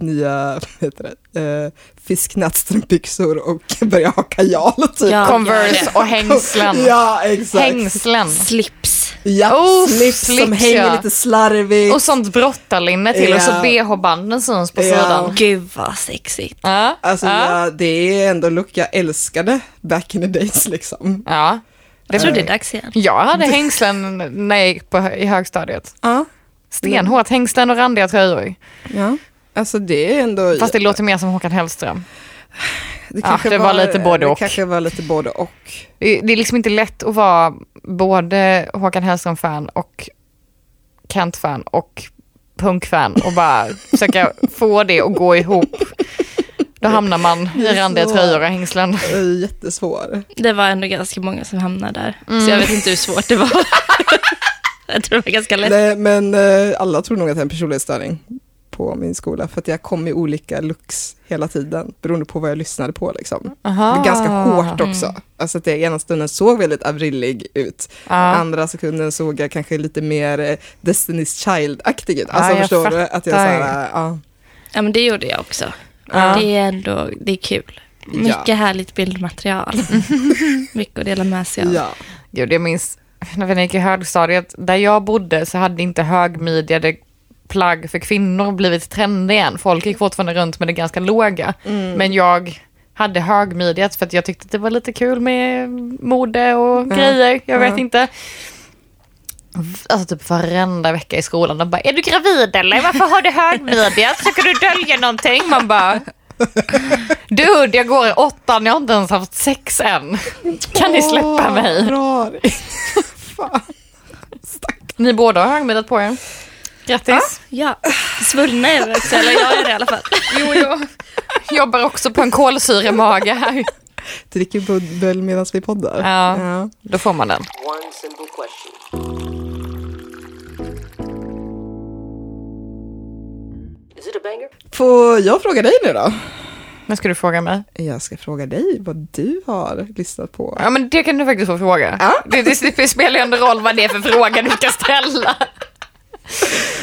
S2: nya *laughs* vad heter det, eh, fisknattstrumpbyxor och *laughs* börja ha kajal typ. *laughs*
S4: Ja.
S1: Converse och hängslen.
S2: Ja, exakt.
S1: Hängslen.
S4: Slips.
S2: Ja,
S1: Oh,
S2: slips, som
S1: slips,
S2: hänger
S1: ja.
S2: lite slarvigt.
S1: Och sånt brottarlinne till och så
S2: Ja.
S1: bh-banden syns på
S2: Ja.
S1: sidan.
S4: Gud vad sexigt.
S1: Ja.
S2: Alltså
S1: ja.
S2: ja, det är ändå look jag älskade back in the days liksom.
S1: ja.
S4: Jag tror det är dags igen.
S1: Jag hade hängslen när jag gick på, i högstadiet.
S2: Ja,
S1: Stenhårt hängslen och randiga tröjor.
S2: ja. Alltså det är ändå...
S1: Fast det låter mer som Håkan Hellström.
S2: det
S1: ja, det var lite både
S2: det
S1: och.
S2: kanske var lite både och.
S1: Det det är liksom inte lätt att vara både Håkan Hellström-fan och Kent-fan och punk-fan och
S2: *laughs*
S1: bara försöka få det att gå ihop. Då hamnar man i randiga tröjor och hängslen.
S2: Det är Eh, jättesvår.
S4: Det var ändå ganska många som hamnade där. Så
S1: Mm.
S4: jag vet inte hur svårt
S1: *laughs*
S4: det var. jag tror det var ganska lätt.
S2: Nej, men eh, alla tror nog att jag är en personlighetsstörning på min skola för att jag kom i olika looks hela tiden beroende på vad jag lyssnade på liksom. Det är ganska hårt
S1: Mm.
S2: också. Alltså att jag ena stunden såg väldigt avrillig ut, andra sekunden såg jag kanske lite mer eh, Destiny's Child-aktig ut. Alltså
S1: Ja, jag
S2: förstår du? Att jag
S1: fattar.
S2: såhär, ja.
S4: Ja, men det gjorde jag också. Det är ändå, det är kul. Mycket
S1: *laughs*
S4: härligt bildmaterial. Mycket att dela med sig av.
S2: ja.
S1: Gud, jag minns *laughs* när jag gick i högstadiet, där jag bodde så hade inte högmidjade plagg för kvinnor blivit trendiga än. Folk gick fortfarande runt med det ganska låga. Men jag hade högmidjat för att jag tyckte att det var lite kul med mode och grejer. Jag vet inte. Alltså typ varenda vecka i skolan, de bara, är du gravid eller? Varför har du högmidjat? Försöker du dölja någonting? Man bara, dude, jag går i åttan, jag har inte ens haft sex än. Kan ni släppa
S2: Åh,
S1: mig?
S2: bra. Fan.
S1: Ni båda har högmiddag på er. Grattis.
S4: Ja, svullna är vi också, eller jag är det i alla fall.
S1: Jo, jag jobbar också på en kolsyremage här.
S2: Dricker bubbel medan vi poddar.
S1: Ja. Då får man den.
S5: One simple question. Is it a banger?
S2: Får jag fråga dig nu då?
S1: Men ska du fråga mig?
S2: Jag ska fråga dig vad du har lyssnat på.
S1: Ja, men det kan du faktiskt få fråga.
S2: Ja.
S1: Det, det, det spelar ju ändå roll vad det är för fråga du ska ställa.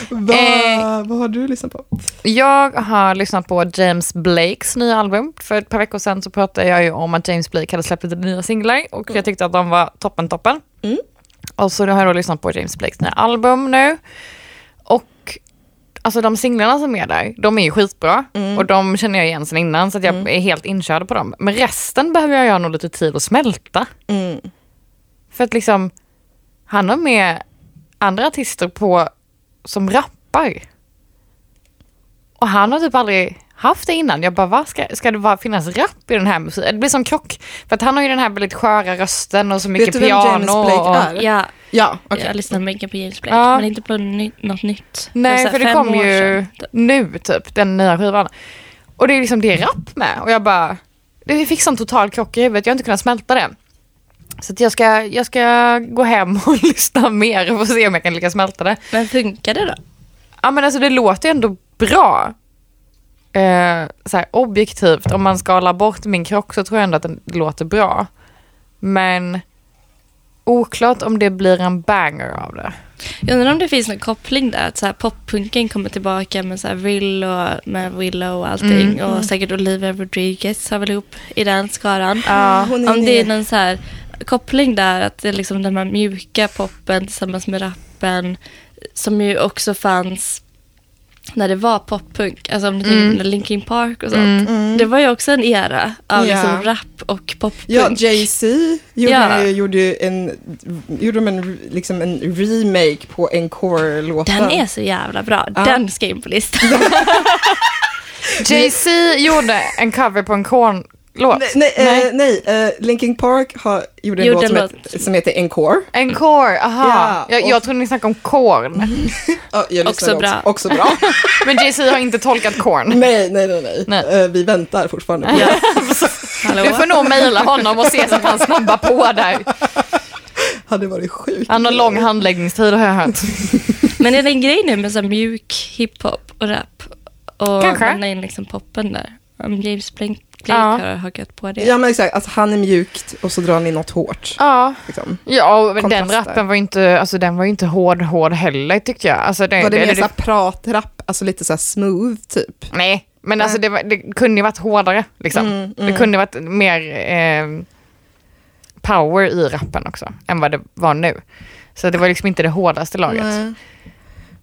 S2: Va,
S1: Eh.
S2: Vad har du lyssnat på?
S1: Jag har lyssnat på James Blakes nya album. För ett par veckor sedan så pratade jag ju om att James Blake hade släppt lite nya singlar och jag tyckte att de var toppen, toppen. Och så Alltså, har jag då lyssnat på James Blakes nya album nu. Och alltså de singlarna som är där, de är ju skitbra.
S2: Mm.
S1: Och de känner jag igen sedan innan så att jag är helt inkörd på dem. Men resten behöver jag nog lite tid att smälta.
S2: Mm.
S1: För att liksom, han har med andra artister på som rappar. Och han har typ aldrig haft det innan. Jag bara, va? Ska, ska det bara finnas rap i den här musiken? Det blir som krock. För att han har ju den här väldigt sköra rösten och så mycket
S2: Vet du vem
S1: piano.
S2: James Blake
S1: och...
S2: är?
S4: Ja,
S2: Ja, okej.
S4: jag lyssnar mycket på James Blake,
S1: Ja.
S4: men inte på ny- något nytt.
S1: Nej,
S4: så här
S1: för det
S4: fem
S1: kom
S4: år
S1: ju
S4: sedan.
S1: nu typ, den nya skivan. Och det är liksom det är rap med. Och jag bara, det fick sån total krock i huvudet. Jag har inte kunnat smälta det. Så att jag, ska, jag ska gå hem *laughs* och lyssna mer och se om jag kan lyckas smälta det.
S4: Men funkar det då?
S1: Ja men alltså det låter ju ändå bra. Eh, så här, objektivt, om man skalar bort min krock så tror jag ändå att den låter bra. Men oklart om det blir en banger av det.
S4: Jag undrar om det finns någon koppling där, att så här poppunken kommer tillbaka med så här Rill och med Willow och allting.
S2: Mm,
S4: Och säkert Olivia Rodriguez har väl ihop i den skaran.
S2: hon är
S4: om det
S2: med.
S4: är någon så här koppling där, att det är liksom den här mjuka poppen tillsammans med rappen, som ju också fanns när det var poppunk, alltså om du
S2: Mm.
S4: tänker på Linkin Park och sånt. Det var ju också en era av
S2: Ja.
S4: liksom rap och poppunk.
S2: Ja, Jay-Z gjorde,
S4: Ja.
S2: gjorde ju en, gjorde de en, liksom en remake på en core-låten.
S4: den är så jävla bra.
S2: Ja.
S4: Den ska in på listan.
S1: Jay-Z gjorde en cover på en Korn-låt.
S2: Nej, nej, eh, nej eh, Linkin Park har, gjorde en
S4: Gjorde
S2: låt, som,
S4: en låt.
S2: het- som heter Encore.
S1: En Korn, aha.
S2: Ja,
S1: jag,
S2: och-
S1: jag trodde ni snackade om Korn.
S2: Ja, jag
S4: Också
S2: lyssnade
S4: bra.
S2: Också bra.
S1: Men Jay-Z har inte tolkat Korn.
S2: nej, nej, nej. nej.
S1: Nej.
S2: Eh, vi väntar fortfarande på det.
S4: Hallå?
S1: Du får nog mejla honom och se så att han snabbar på där.
S2: Hade varit sjukt.
S1: Han har lång handläggningstid har jag hört.
S4: Men är det en grej nu med så här mjuk hiphop och rap? Och
S1: Kanske.
S4: lämna in liksom poppen där. Om James Blake Blake
S1: Ja.
S4: har hakat på det.
S2: Ja, men exakt. Alltså, han är mjukt och så drar han in något hårt.
S1: Ja,
S2: Liksom.
S1: ja men den
S2: Kontraster.
S1: rappen var ju inte, alltså, den var ju inte hård, hård heller tyckte jag. Alltså, det,
S2: Var det,
S1: det-
S2: mer
S1: det-
S2: såhär pratrapp, alltså lite såhär smooth typ?
S1: Nej, men alltså det, var, det kunde ju varit hårdare.
S2: Mm.
S1: Liksom. Det kunde varit mer eh, power i rappen också än vad det var nu. Så det var liksom inte det hårdaste laget.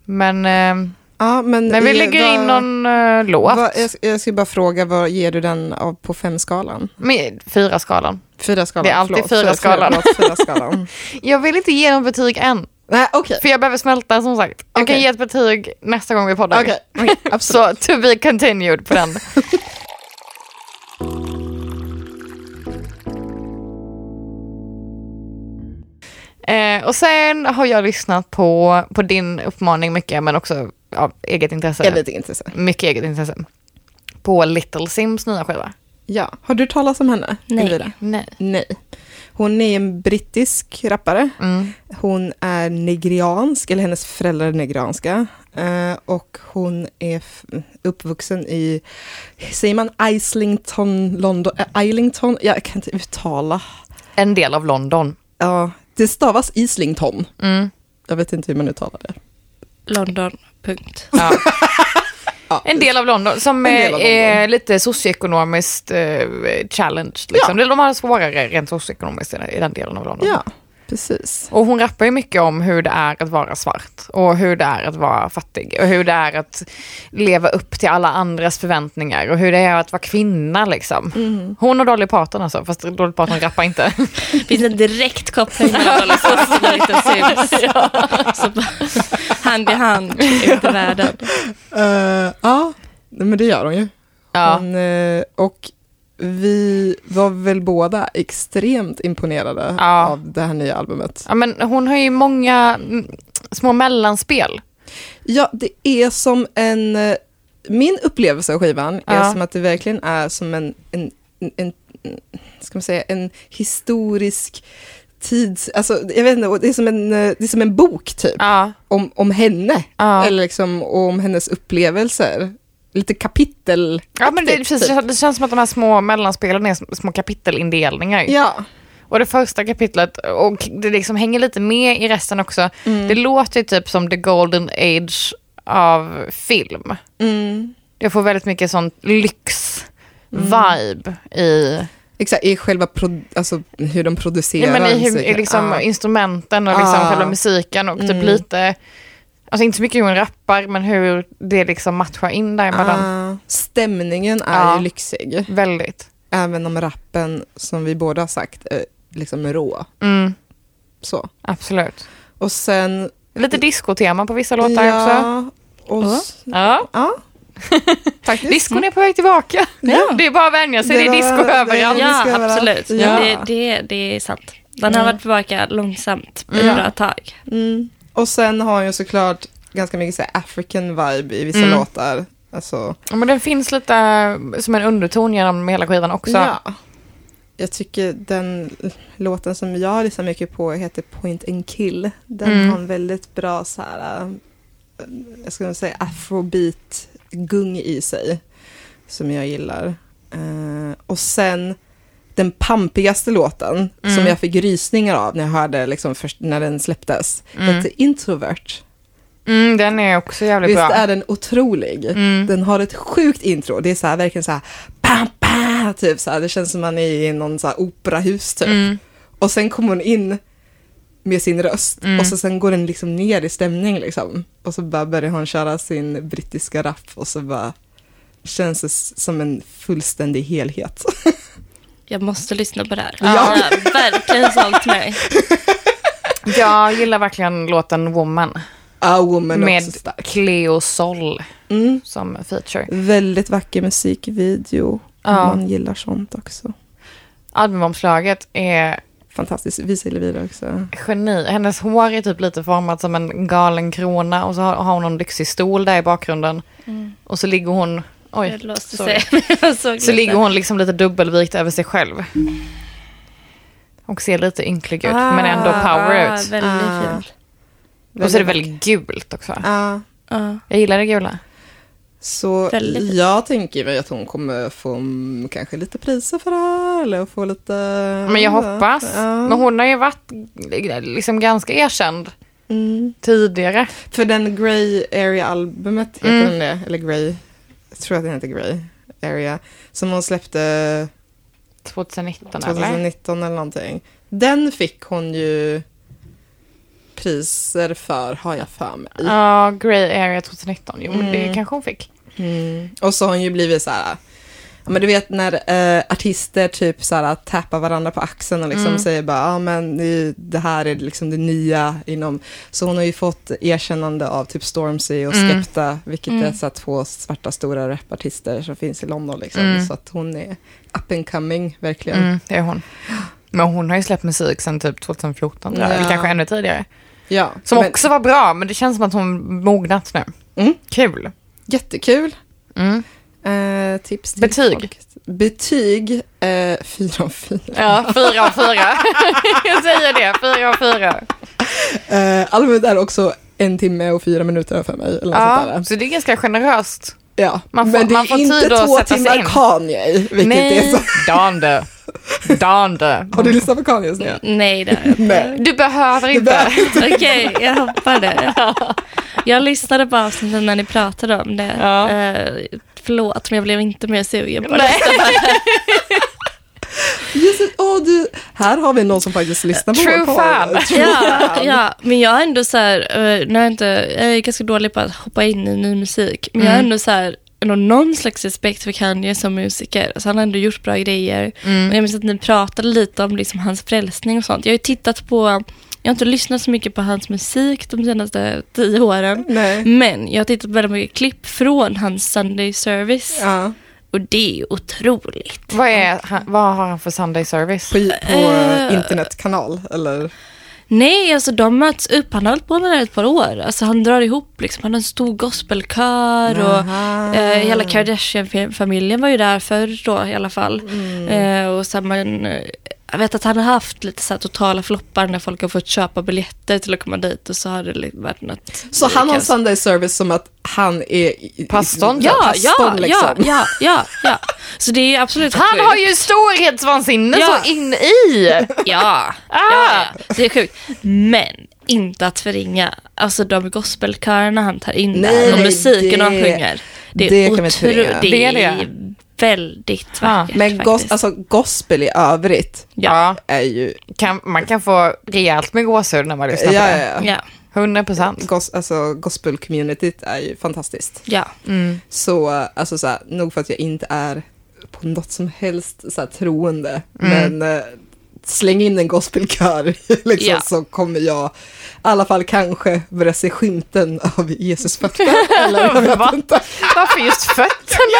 S1: Men eh,
S2: Ja, men
S1: Men vi
S2: är-
S1: lägger in
S2: vad-
S1: någon eh, låt.
S2: Vad, jag, jag skulle bara fråga, vad ger du den av på femskalan?
S1: Med fyra skalan.
S2: Fyra skalan.
S1: Det är alltid
S2: förlåt.
S1: fyra
S2: Fyra-
S1: skalan.
S2: Förlåt, fyra skalan.
S1: *laughs* Jag vill inte ge någon betyg än.
S2: Nej, okej.
S1: För jag behöver smälta som sagt. Jag
S2: Okej.
S1: kan ge ett betyg nästa gång vi poddar.
S2: Okej, okej,
S1: *laughs* Så to be continued på den. *laughs* Eh, och sen har jag lyssnat på, på din uppmaning mycket, men också av eget intresse.
S2: Jag är lite intresserad.
S1: Mycket eget intresse. På Little Sims nya skiva.
S2: Ja. Har du talat om henne?
S4: Nej.
S2: Elvira?
S1: Nej.
S2: Nej. Hon är en brittisk rappare.
S1: Mm.
S2: Hon är nigeriansk, eller hennes föräldrar är nigerianska. Eh, och hon är f- uppvuxen i, säger man Islington, London, eh, Islington? Jag kan inte uttala.
S1: En del av London.
S2: Ja, det stavas Islington.
S1: Mm.
S2: Jag vet inte hur man uttalar det.
S4: London, punkt.
S1: Ja.
S2: *laughs*
S1: En del av London som
S2: En del av
S1: eh, är
S2: London.
S1: lite socioekonomiskt eh, challenge. Liksom. De har svårare rent socioekonomiskt i den- i den delen av London.
S2: Ja, precis.
S1: Och hon rappar ju mycket om hur det är att vara svart och hur det är att vara fattig och hur det är att leva upp till alla andras förväntningar och hur det är att vara kvinna liksom.
S2: Mm.
S1: Hon och Dolly Parton alltså, fast Dolly Parton rappar
S2: *laughs*
S1: inte.
S4: Finns en direkt koppling mellan Dolly Parton och Little Sims. Så bara, hand i hand ut i världen.
S2: Eh, ja, nej, men det gör hon ju.
S1: ja.
S2: Hon, eh, och vi var väl båda extremt imponerade
S1: Ja.
S2: av det här nya albumet.
S1: ja, men hon har ju många mm, små mellanspel.
S2: Ja, det är som en... eh, Min upplevelse av skivan är
S1: Ja.
S2: som att det verkligen är som en, en, en, en ska man säga, en historisk tids... Alltså, jag vet inte, och det är som en, eh, det är som en bok typ,
S1: Ja.
S2: om, om henne.
S1: Ja.
S2: Eller liksom, och om hennes upplevelser. Lite kapitel. Typ.
S1: Ja, men det, precis, det känns som att de här små mellanspelen är sm- små kapitelindelningar.
S2: Ja,
S1: Och det första kapitlet, och det liksom hänger lite med i resten också,
S2: Mm.
S1: det låter ju typ som the golden age av film.
S2: mm.
S1: Jag får väldigt mycket sån lyx-vibe i,
S2: exakt. I själva pro, alltså, hur de
S1: nej,
S2: producerar
S1: men i, hur, i
S2: musiken.
S1: liksom
S2: Ja.
S1: instrumenten och liksom
S2: Ah.
S1: själva musiken och typ
S2: Mm.
S1: lite, alltså inte så mycket hur hon rappar, men hur det liksom matchar in däremellan.
S2: Ah, stämningen är
S1: Ja.
S2: ju lyxig.
S1: Väldigt.
S2: även om rappen, som vi båda har sagt, är liksom rå.
S1: Mm,
S2: Så.
S1: absolut.
S2: Och sen...
S1: Lite discotema på vissa låtar också.
S2: ja, och s-
S1: Ja.
S2: ja. Faktiskt.
S1: Diskon är på väg tillbaka.
S2: Ja.
S1: *laughs* Det är bara att vänja sig, det är
S2: var-
S1: disco
S2: det är
S1: överallt.
S4: Ja,
S2: disco överallt.
S4: absolut.
S2: Ja.
S4: Det, det, det är sant. Den har varit tillbaka långsamt ett
S1: Mm.
S4: bra tag.
S2: Mm. Och sen har jag såklart ganska mycket så här African vibe i vissa
S1: Mm.
S2: låtar. Alltså,
S1: Ja, men den finns lite eh, som en underton genom hela skivan också.
S2: ja. Jag tycker den låten som jag lyssnar mycket på heter Point and Kill. Den
S1: Mm.
S2: har en väldigt bra så här, äh, jag skulle säga afrobeat-gung i sig. Som jag gillar. Eh, och sen den pampigaste låten
S1: Mm.
S2: som jag fick rysningar av när jag hörde liksom först när den släpptes. Hette Introvert.
S1: Mm, den är också jävligt
S2: Visst
S1: bra. Mm.
S2: är den otrolig? Den har ett sjukt intro. Det är så här, verkligen så här, pam, pam, typ så här. Det känns som man är i någon så här operahus typ.
S1: Mm.
S2: Och sen kommer hon in med sin röst
S1: Mm.
S2: och så sen går den liksom ner i stämning liksom. Och så bara börjar hon köra sin brittiska rap och så bara känns det s- som en fullständig helhet. *laughs*
S4: Jag måste lyssna på det här.
S2: Ja.
S4: Den har verkligen sålt mig.
S1: Jag gillar verkligen låten Woman
S2: A woman Med... också
S1: med
S2: stark.
S1: Cleo Sol
S2: Mm.
S1: som feature.
S2: Väldigt vacker musikvideo.
S1: Ja.
S2: Man gillar sånt också.
S1: Albumomslaget är
S2: Fantastiskt. Visa Elvira också.
S1: geni. Hennes hår är typ lite format som en galen krona och så har, har hon någon lyxig stol där i bakgrunden. Och så ligger hon, oj,
S4: Det låste
S1: sorry.
S4: sig. *laughs* Jag såg
S1: så
S4: det.
S1: ligger hon liksom lite dubbelvikt över sig själv. Och ser lite ynklig ut men ändå power
S4: ah,
S1: ut.
S4: Väldigt
S2: Ah.
S4: fint.
S1: Och så är det väldigt gult också.
S2: Ja.
S4: Ja.
S1: Jag gillar det gula.
S2: Så
S4: Väldigt fint.
S2: jag tänker mig att hon kommer få mm, kanske lite priser för det här eller få lite...
S1: Men jag hoppas.
S2: Ja.
S1: Men hon har ju varit eh, liksom ganska erkänd
S2: Mm.
S1: tidigare.
S2: För den Grey Area-albumet, heter
S1: Mm.
S2: den det? Eller Grey? Jag tror att den heter Grey Area. Som hon släppte
S1: 2019 eller?
S2: 2019 eller någonting. Den fick hon ju priser för, har jag för mig.
S1: Ja, Grey Area 2019. Jo, men det kanske hon fick. Mm.
S2: Och så har hon ju blivit så här, ja, men du vet när eh, artister typ så här tappar varandra på axeln och liksom
S1: Mm.
S2: säger bara, ja men det, det här är liksom det nya inom, så hon har ju fått erkännande av typ Stormzy och
S1: Mm.
S2: Skepta, vilket är så här två svarta stora rapartister som finns i London liksom, så att hon är up and coming verkligen.
S1: Mm, det är hon. Men hon har ju släppt musik sedan typ 2014, tror jag. eller
S2: Ja.
S1: kanske ännu tidigare.
S2: Ja,
S1: Som
S2: men
S1: också var bra, men det känns som att hon mognat nu.
S2: Mm.
S1: Kul.
S2: jättekul.
S1: Mm.
S2: Eh, tips till
S1: Betyg.
S2: Folk. Betyg, eh, fyra av fyra.
S1: Ja, fyra av fyra. *laughs* jag säger det, fyra av fyra.
S2: Eh, albumet är också en timme och fyra minuter för mig. Eller något sånt där.
S1: Ja, så det är ganska generöst.
S2: Ja,
S1: Man får-
S2: men det
S1: man
S2: är
S1: får
S2: inte
S1: tid att
S2: två
S1: sätta sig
S2: timmar
S1: in.
S2: Kanye, vilket är så.
S1: Dande. Dande.
S2: Har du lyssnat på Kanyes nu?
S4: Nej, det har jag inte.
S2: Nej.
S1: Du behöver inte. *laughs*
S2: behöver
S4: Okej, jag hoppar det. Jag lyssnade på avsnitten när ni pratade om det.
S1: Ja.
S4: Eh, förlåt, men jag blev inte mer sugen
S1: *laughs*
S4: på det.
S1: Nej.
S2: Just it, åh, du, här har vi någon som faktiskt lyssnar på
S1: True
S2: vår podd.
S1: fan.
S2: True
S4: Ja,
S2: fan.
S4: ja, men jag är ändå så här, eh, nu är jag, inte, jag är ganska dålig på att hoppa in i ny musik, men jag
S1: Mm.
S4: är ändå så här, ändå någon slags respekt för Kanye som musiker. Alltså han har ändå gjort bra grejer.
S1: Mm.
S4: Och jag minns att ni pratade lite om liksom hans frälsning och sånt. Jag har ju tittat på, jag har inte lyssnat så mycket på hans musik de senaste tio åren.
S2: Nej.
S4: Men jag har tittat på väldigt mycket klipp från hans Sunday Service.
S2: Ja,
S4: Och det är ju otroligt.
S1: Vad, är, han- vad har han för Sunday service?
S2: på på
S4: Eh.
S2: internetkanal, eller?
S4: Nej, alltså de möts upp. Han har hållit på med det här ett par år. Alltså han drar ihop liksom. Han har en stor gospelkör
S2: Aha.
S4: och eh, hela Kardashian-familjen var ju där förr då i alla fall.
S2: Mm.
S4: Eh, och sen man, eh, jag vet att han har haft lite så här totala floppar när folk har fått köpa biljetter till att komma dit och så har det liksom varit något.
S2: Så han har
S4: kaos.
S2: Sunday service som att han är... i- i-
S1: Pastorn?
S4: Ja, ja,
S2: pastorn,
S4: ja,
S2: liksom.
S4: ja, ja, ja. Så det är absolut
S1: Han
S4: sjukt.
S1: har ju storhetsvansinne
S4: Ja.
S1: så in i.
S2: *laughs*
S4: Ja,
S2: Ah!
S4: ja, ja. det är sjukt. Men inte att förringa alltså de gospelkörerna han tar in
S2: Nej,
S4: där och musiken
S2: det-
S4: han sjunger. Det är,
S2: det
S4: det
S2: kan vi inte förringa.
S4: det
S1: Det är
S4: är
S1: det.
S4: väldigt
S1: Ja.
S4: vackert
S2: Men gos,
S4: faktiskt.
S2: alltså, gospel i övrigt
S1: Ja.
S2: är ju...
S1: Kan, man kan få rejält med gåshud när man lyssnar
S2: Ja,
S1: på
S2: ja,
S1: det.
S2: ja.
S4: Ja,
S1: 100 procent.
S2: Gos, alltså, gospel-communityt är ju fantastiskt.
S4: ja.
S2: Så, eh, alltså så här, nog för att jag inte är på något som helst så här, troende,
S4: Mm.
S2: men eh, släng in en gospelkör *laughs* liksom,
S4: Ja.
S2: så kommer jag i alla fall kanske börja se skymten av Jesus
S4: *laughs*
S2: fötter. eller jag
S1: Va?
S2: vet inte.
S1: Varför just fötterna?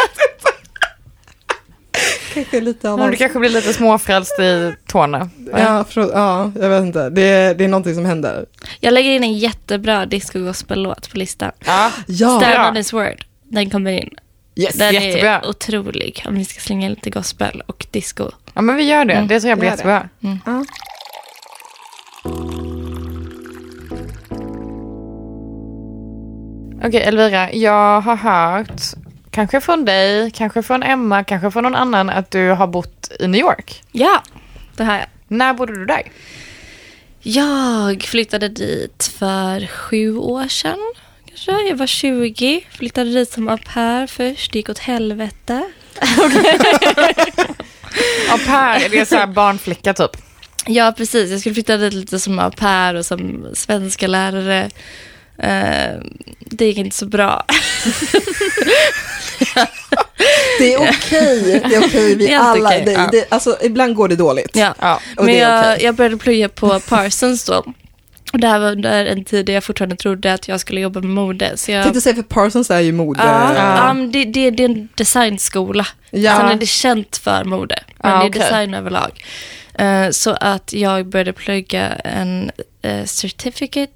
S2: Kanske lite av
S1: Du kanske blir lite småfrälst i tårna. va?
S2: Ja, frå- ja, jag vet inte. Det är, det är någonting som händer.
S4: Jag lägger in en jättebra disco gospel-låt på listan.
S1: Ja.
S2: Ja,
S4: Stand
S1: bra.
S4: on his word. Den kommer in.
S2: yes.
S4: Den
S1: jättebra.
S4: är otrolig om vi ska slänga in lite gospel och disco.
S1: ja, men Mm. vi gör det. Det Mm. tror jag blir
S2: Gör det.
S1: jättebra. Okej, Elvira. Jag har hört, kanske från dig, kanske från Emma, kanske från någon annan, att du har bott i New York.
S4: Ja, det här
S1: När bodde du där?
S4: Jag flyttade dit för sju år sedan. Kanske. Jag var 20, flyttade dit som au pair först, det gick åt helvete.
S1: Au pair, är det *laughs* så här barnflicka typ?
S4: Ja, precis. Jag skulle flytta dit lite som au pair och som svenska lärare. Eh, det gick inte så *laughs* bra.
S2: Det är okej. Det är okej.
S4: Det
S2: Vi
S4: är helt
S2: alla,
S4: okej,
S2: det,
S4: ja.
S2: det, alltså, ibland går det dåligt.
S4: Ja.
S1: Ja.
S2: Och
S4: Men
S2: det är
S4: jag,
S2: okej.
S4: jag började plugga på Parsons då. Och det här var under en tid där jag fortfarande trodde att jag skulle jobba med mode. Så jag...
S2: Tänkte säga, för Parsons är ju mode...
S4: Ja, ja, men det, det, det är en designskola.
S2: Ja.
S4: Sen är det känt för mode, men
S1: Ja,
S4: det är
S1: okej.
S4: design överlag. Eh, så att jag började plugga en eh, certificate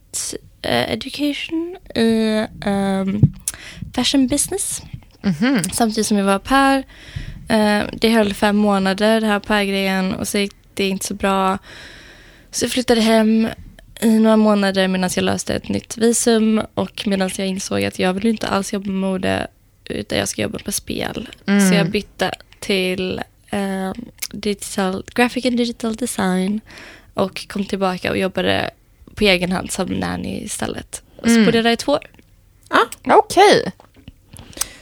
S4: eh, education i ehm, fashion business.
S1: Mhm.
S4: Samtidigt som jag var pär. Eh, det höll fem månader, det här pärgrejen, och så gick det inte så bra. Så jag flyttade hem i några månader medan jag löste ett nytt visum och medan jag insåg att jag vill inte alls jobba med mode utan jag ska jobba med spel. Så jag bytte till eh, digital, graphic and digital design och kom tillbaka och jobbade på egen hand som nanny istället. Och så bodde jag där i två år.
S1: Okej.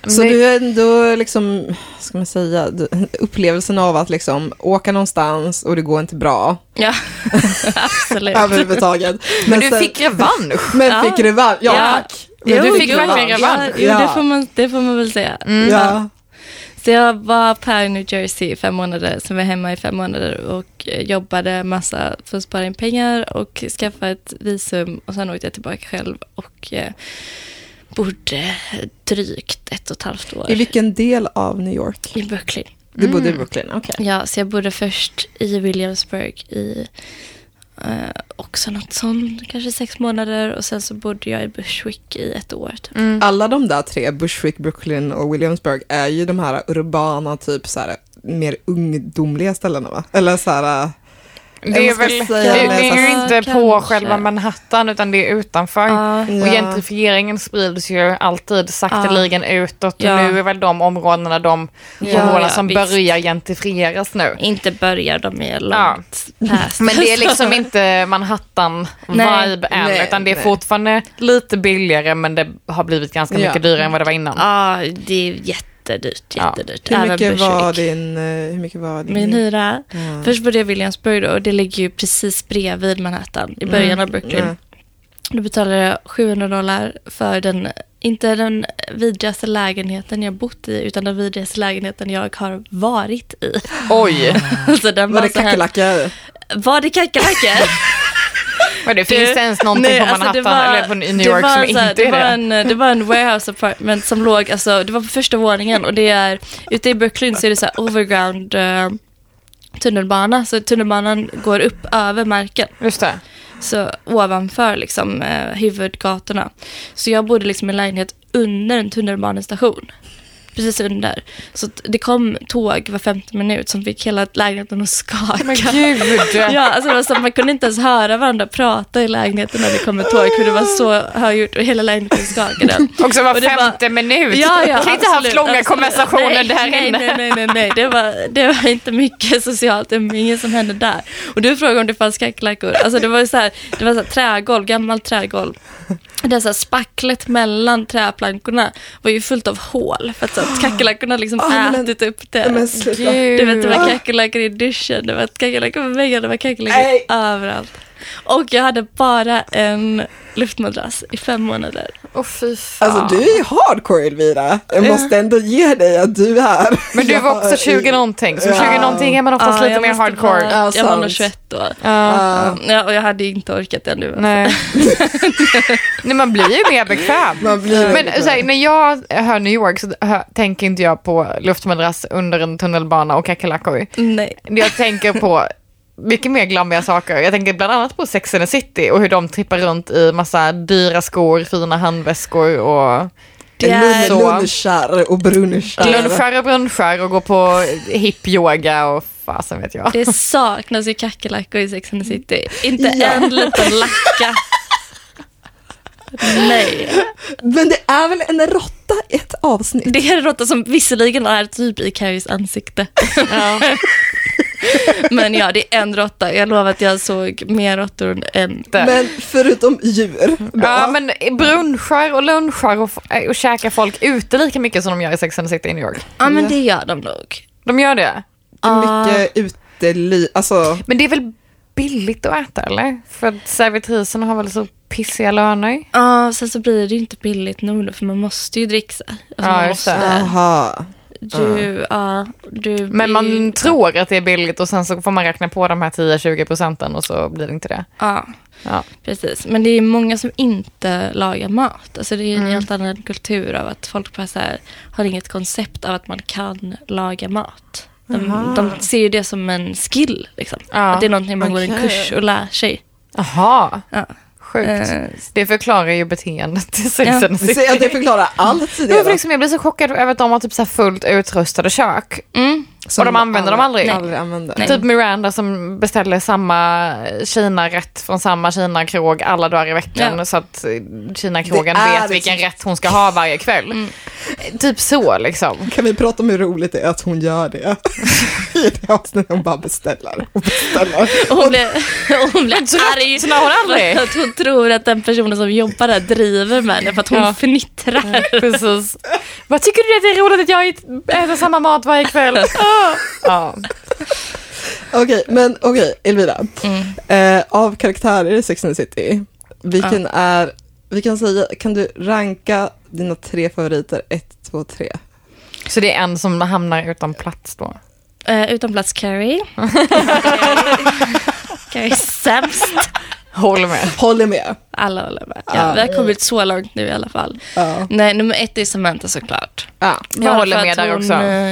S2: Så
S1: Nej.
S2: du är ändå liksom, ska man säga, du- upplevelsen av att liksom åka någonstans och det går inte bra
S4: Ja, *laughs* absolut.
S2: överhuvudtaget.
S1: Men du
S2: sen-
S1: fick revansch.
S2: men
S4: Ja.
S2: fick revansch. Ja, tack. Men
S1: Jo,
S2: du
S1: fick verkligen revansch.
S4: Ja, jo,
S2: Ja.
S4: det, får man, det får man väl säga.
S2: Mm. Ja.
S4: Så jag var här i New Jersey i fem månader, sen var jag hemma i fem månader och eh, jobbade massa för att spara in pengar och skaffa ett visum och sen åkte jag tillbaka själv och eh, bodde drygt ett och ett halvt år
S2: I vilken del av New York? Mm.
S4: i Brooklyn.
S2: Du bodde i Brooklyn, okej.
S4: Ja, så jag bodde först i Williamsburg i eh, också något sånt, kanske sex månader och sen så bodde jag i Bushwick i ett år. Typ.
S2: Mm. Alla de där tre, Bushwick, Brooklyn och Williamsburg, är ju de här urbana, typ så här, mer ungdomliga ställena va? Eller så här,
S1: Det är
S2: Jag ska
S1: väl
S2: säga
S1: det,
S2: det,
S1: det är ju
S4: fast-
S1: inte på
S4: Kanske.
S1: själva Manhattan utan det är utanför.
S4: Ja.
S1: Och
S2: Ja.
S1: gentrifieringen sprids ju alltid sakteligen utåt och
S4: Ja.
S1: nu är väl de områdena de
S4: Ja,
S1: områden
S4: ja,
S1: som
S4: visst.
S1: börjar gentrifieras nu.
S4: Inte börjar de
S1: *laughs*
S4: är långt past.
S1: Men det är liksom inte Manhattan-vibe än,
S2: Nej,
S1: utan det är
S2: nej.
S1: fortfarande lite billigare, men det har blivit ganska
S2: Ja.
S1: mycket dyrare än vad det var innan.
S4: *laughs* Ja, det är jättedyrt,
S1: Ja.
S4: jättedyrt.
S2: hur
S4: Även
S2: mycket var
S4: Bushwick.
S2: din, eh, hur mycket var din?
S4: Min hyra. Först bodde jag i Williamsburg då, och det ligger ju precis bredvid Manhattan i början av Brooklyn.
S2: Mm.
S4: Då betalade jag 700 dollar för den, inte den vidrigaste lägenheten jag bott i, utan den vidrigaste lägenheten jag har varit i.
S1: Oj,
S4: Alltså, den
S2: Ah. var det
S4: *laughs* så här-
S2: kackerlackor?
S4: Var det kackerlackor?
S1: men det finns det ens någonting på Manhattan eller på New
S4: alltså, det
S1: York
S4: var
S1: som
S4: så här-
S1: inte är det?
S4: det? Var en, eh, det var en warehouse apartment som låg, alltså, det var på första våningen och det är, ute i Brooklyn så är det så här overground eh, tunnelbana, så tunnelbanan går upp över marken,
S1: Just det.
S4: så ovanför liksom eh, huvudgatorna. Så jag bodde liksom i en lägenhet under en tunnelbanestation. Precis under. Så att det kom tåg var 15 minut som fick hela lägenheten att skaka.
S1: Men gud!
S4: *laughs* Ja, alltså det var så, att man kunde inte ens höra varandra prata i lägenheten när det kom ett tåg, för det var så högljutt och hela lägenheten skakade.
S1: Och så var
S4: Och det var-
S1: femte minut.
S4: Ja, ja,
S1: kan inte ha haft
S4: absolut,
S1: långa
S4: absolut.
S1: konversationer
S4: nej,
S1: där
S4: nej,
S1: inne.
S4: Nej, nej, nej, nej. Det, var, det var inte mycket socialt, det var inget som hände där. Och du frågade om det fanns kackerlackor. Alltså det var ju så här, det var så här trägolv, gammalt trägolv. Det är så här spacklet mellan träplankorna var ju fullt av hål för att, så att
S1: *gasps*
S4: kackerlackorna liksom
S2: Ah, men-
S4: ätit upp det.
S2: Men sluta.
S1: Gud.
S4: Du vet, det var kackerlackor i duschen, det var kackerlackor på väggen, det var kackerlackor
S2: Nej.
S4: överallt. Och jag hade bara en luftmadrass i fem månader.
S1: Åh, fy fan.
S2: Alltså du är hardcore Elvira. Jag måste ändå ge dig att du är.
S1: Men du var också 20 någonting, så 20 någonting är man oftast
S4: Ja,
S1: lite
S4: jag
S1: mer
S4: måste
S1: hardcore.
S4: vara-
S2: Ja,
S4: jag var
S2: sant.
S4: nog 21 då.
S1: Ja.
S2: Ja,
S4: Ja, och jag hade inte orkat det nu.
S1: Nej. *laughs* Nej, man blir ju mer bekväm.
S2: Man blir mer
S1: men
S2: bekväm.
S1: så här, när jag hör New York så hör, tänker inte jag på luftmadrass under en tunnelbana och kackerlackor.
S4: Nej.
S1: Jag tänker på mycket mer glammiga saker. Jag tänker bland annat på Sex and the City och hur de trippar runt i massa dyra skor, fina handväskor och
S4: Det är
S1: så.
S2: Lunchar och brunchar.
S1: lunchar och brunchar och går på hippyoga och fasen vet jag.
S4: Det saknas ju kackerlackor i Sex and the City. Inte en liten lacka. Nej.
S2: Men det är väl en råtta i ett avsnitt?
S4: Det är en råtta som visserligen är typ i Carries ansikte.
S1: Ja.
S4: *laughs* Men ja, det är en råtta. Jag lovar att jag såg mer råttor än
S1: Där.
S2: Men förutom djur då?
S1: Ja, men brunchar och lunchar och, f- och käkar folk ute lika mycket som de gör i Sex and the City i New York.
S4: Ja, men det gör de nog.
S1: De gör det.
S2: Mycket uteliv, alltså
S1: Men det är väl billigt att äta eller? För att servitrisen har väl så pissiga löner.
S4: Ja, sen så blir det ju inte billigt nog då, för man måste ju dricksa. Alltså,
S1: Ja,
S4: man
S1: just det.
S4: måste.
S2: aha.
S4: Du, ja, du
S1: Men man
S4: blir-
S1: tror att det är billigt och sen så får man räkna på de här 10-20 procenten och så blir det inte det.
S4: Ja,
S1: Ja.
S4: precis. Men det är många som inte lagar mat. Alltså det är
S1: Mm.
S4: en helt annan kultur av att folk bara så här, har inget koncept av att man kan laga mat. De, de ser ju det som en skill. Liksom.
S1: Ja,
S4: Att det är någonting man går en
S2: okej.
S4: kurs och lär sig.
S1: Jaha, *laughs*
S4: Ja.
S1: sjukt.
S4: Eh,
S1: Det förklarar ju beteendet i Sex
S4: Ja.
S1: and the
S2: Det
S1: City.
S2: ser- Det förklarar
S1: *laughs*
S2: allt
S1: Det var för
S2: tidigare.
S1: liksom, jag blir så chockad över att de har typ så här fullt utrustade kök.
S4: Mm.
S1: och de använder dem aldrig.
S2: aldrig använder.
S4: Nej.
S1: Typ Miranda som beställer samma Kina-rätt från samma Kina-krog alla dagar i veckan
S4: Ja.
S1: så att eh, Kina-krogen
S2: Det är
S1: vet
S2: liksom-
S1: vilken rätt hon ska ha varje kväll. Typ så liksom.
S2: Kan vi prata om hur roligt det *laughs* är att hon gör det? i det avsnittet. Hon bara beställer och beställer.
S4: Och Hon blev, och *laughs* hon blev arg.
S1: Så la hon aldrig.
S4: För att hon tror att den personen som jobbar där driver med henne för att hon
S1: Ja. *laughs*
S4: fnittrar.
S1: Precis. Vad tycker du att det är roligt att jag äter samma mat varje *laughs* kväll? Ah. ja.
S2: Okej, men okej, Elvira. Eh, av karaktärer i Sex and the City, vilken är, vi kan säga, kan du ranka dina tre favoriter, ett, två, tre?
S1: Så det är en som hamnar utan plats då?
S4: Eh, utan
S1: *laughs*
S4: plats Carrie. Carrie är sämst.
S1: Håller med.
S2: Håller med.
S4: Alla håller med. Ja, vi har kommit så långt nu i alla fall.
S2: Ja.
S4: Nej, nummer ett är Samantha såklart.
S2: Ja.
S1: Jag
S4: Bara
S1: håller
S4: för
S1: med
S4: att
S1: där
S4: hon,
S1: också.
S4: eh,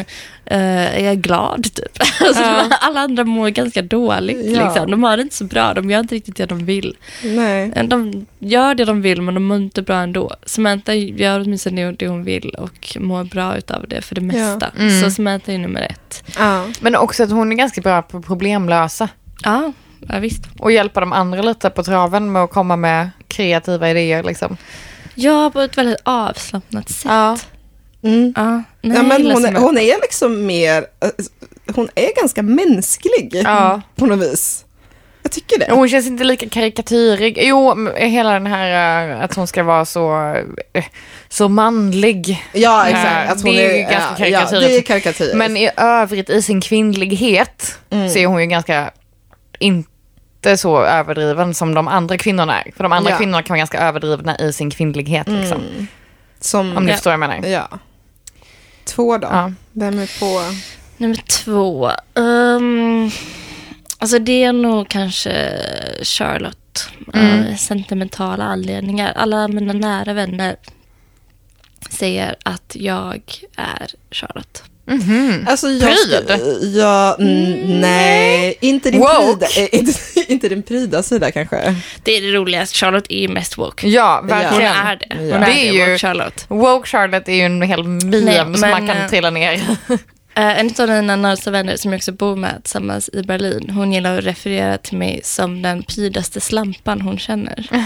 S4: eh, är glad typ. *laughs* Alltså, Alla andra mår ganska dåligt.
S2: Ja.
S4: Liksom. De har det inte så bra, de gör inte riktigt det de vill.
S2: Nej.
S4: De gör det de vill men de mår inte bra ändå. Samantha gör åtminstone det hon vill och mår bra utav det för det mesta. Så Samantha är nummer ett.
S2: Ja.
S1: Men också att hon är ganska bra på att problemlösa
S4: Ja, ja visst.
S1: och hjälpa de andra lite på traven med att komma med kreativa idéer. Liksom.
S4: Ja, på ett väldigt avslappnat sätt. Ja.
S1: Ja.
S2: Mm.
S4: nej,
S2: ja,
S4: jag
S2: men
S4: gillar
S2: hon, är,
S4: Samantha.
S2: hon är liksom mer, eh, hon är ganska mänsklig
S1: Ja.
S2: på något vis. Jag tycker det.
S1: Mm. Hon känns inte lika karikatyrig. Jo, m- hela den här eh, att hon ska vara så, eh, så manlig.
S2: Ja, exakt.
S1: Ja,
S2: Att hon
S1: det är
S2: är,
S1: ju ganska
S2: ja, ja,
S1: karikatyr.
S2: det är karikatyr.
S1: Men i övrigt i sin kvinnlighet så är hon ju ganska inte så överdriven som de andra kvinnorna är. För de andra
S2: Ja.
S1: kvinnorna kan vara ganska överdrivna i sin kvinnlighet. Liksom,
S2: Som,
S1: Om ni
S4: Ja.
S1: förstår vad jag menar.
S2: ja. Två då.
S1: Ja.
S2: Vem är på?
S4: Nummer två. Um, alltså det är nog kanske Charlotte. Av sentimentala anledningar. Alla mina nära vänner säger att jag är Charlotte.
S2: Alltså jag
S1: Pryd?
S2: Ja, mm, nej, inte din,
S1: Woke.
S2: prida, eh, *laughs* inte, inte din prida sida kanske.
S4: Det är det roligaste. Charlotte är ju mest woke.
S1: Ja,
S4: Hon
S1: verkligen.
S4: är det. Hon är
S1: Det
S4: det,
S1: är ju-
S4: woke Charlotte.
S1: Woke Charlotte är ju en hel meme
S4: Nej,
S1: som
S4: men,
S1: man kan
S4: eh,
S1: trilla ner
S4: Eh, en av mina närmaste vänner som jag också bor med tillsammans i Berlin, hon gillar att referera till mig som den prydaste slampan hon känner.
S2: Ja,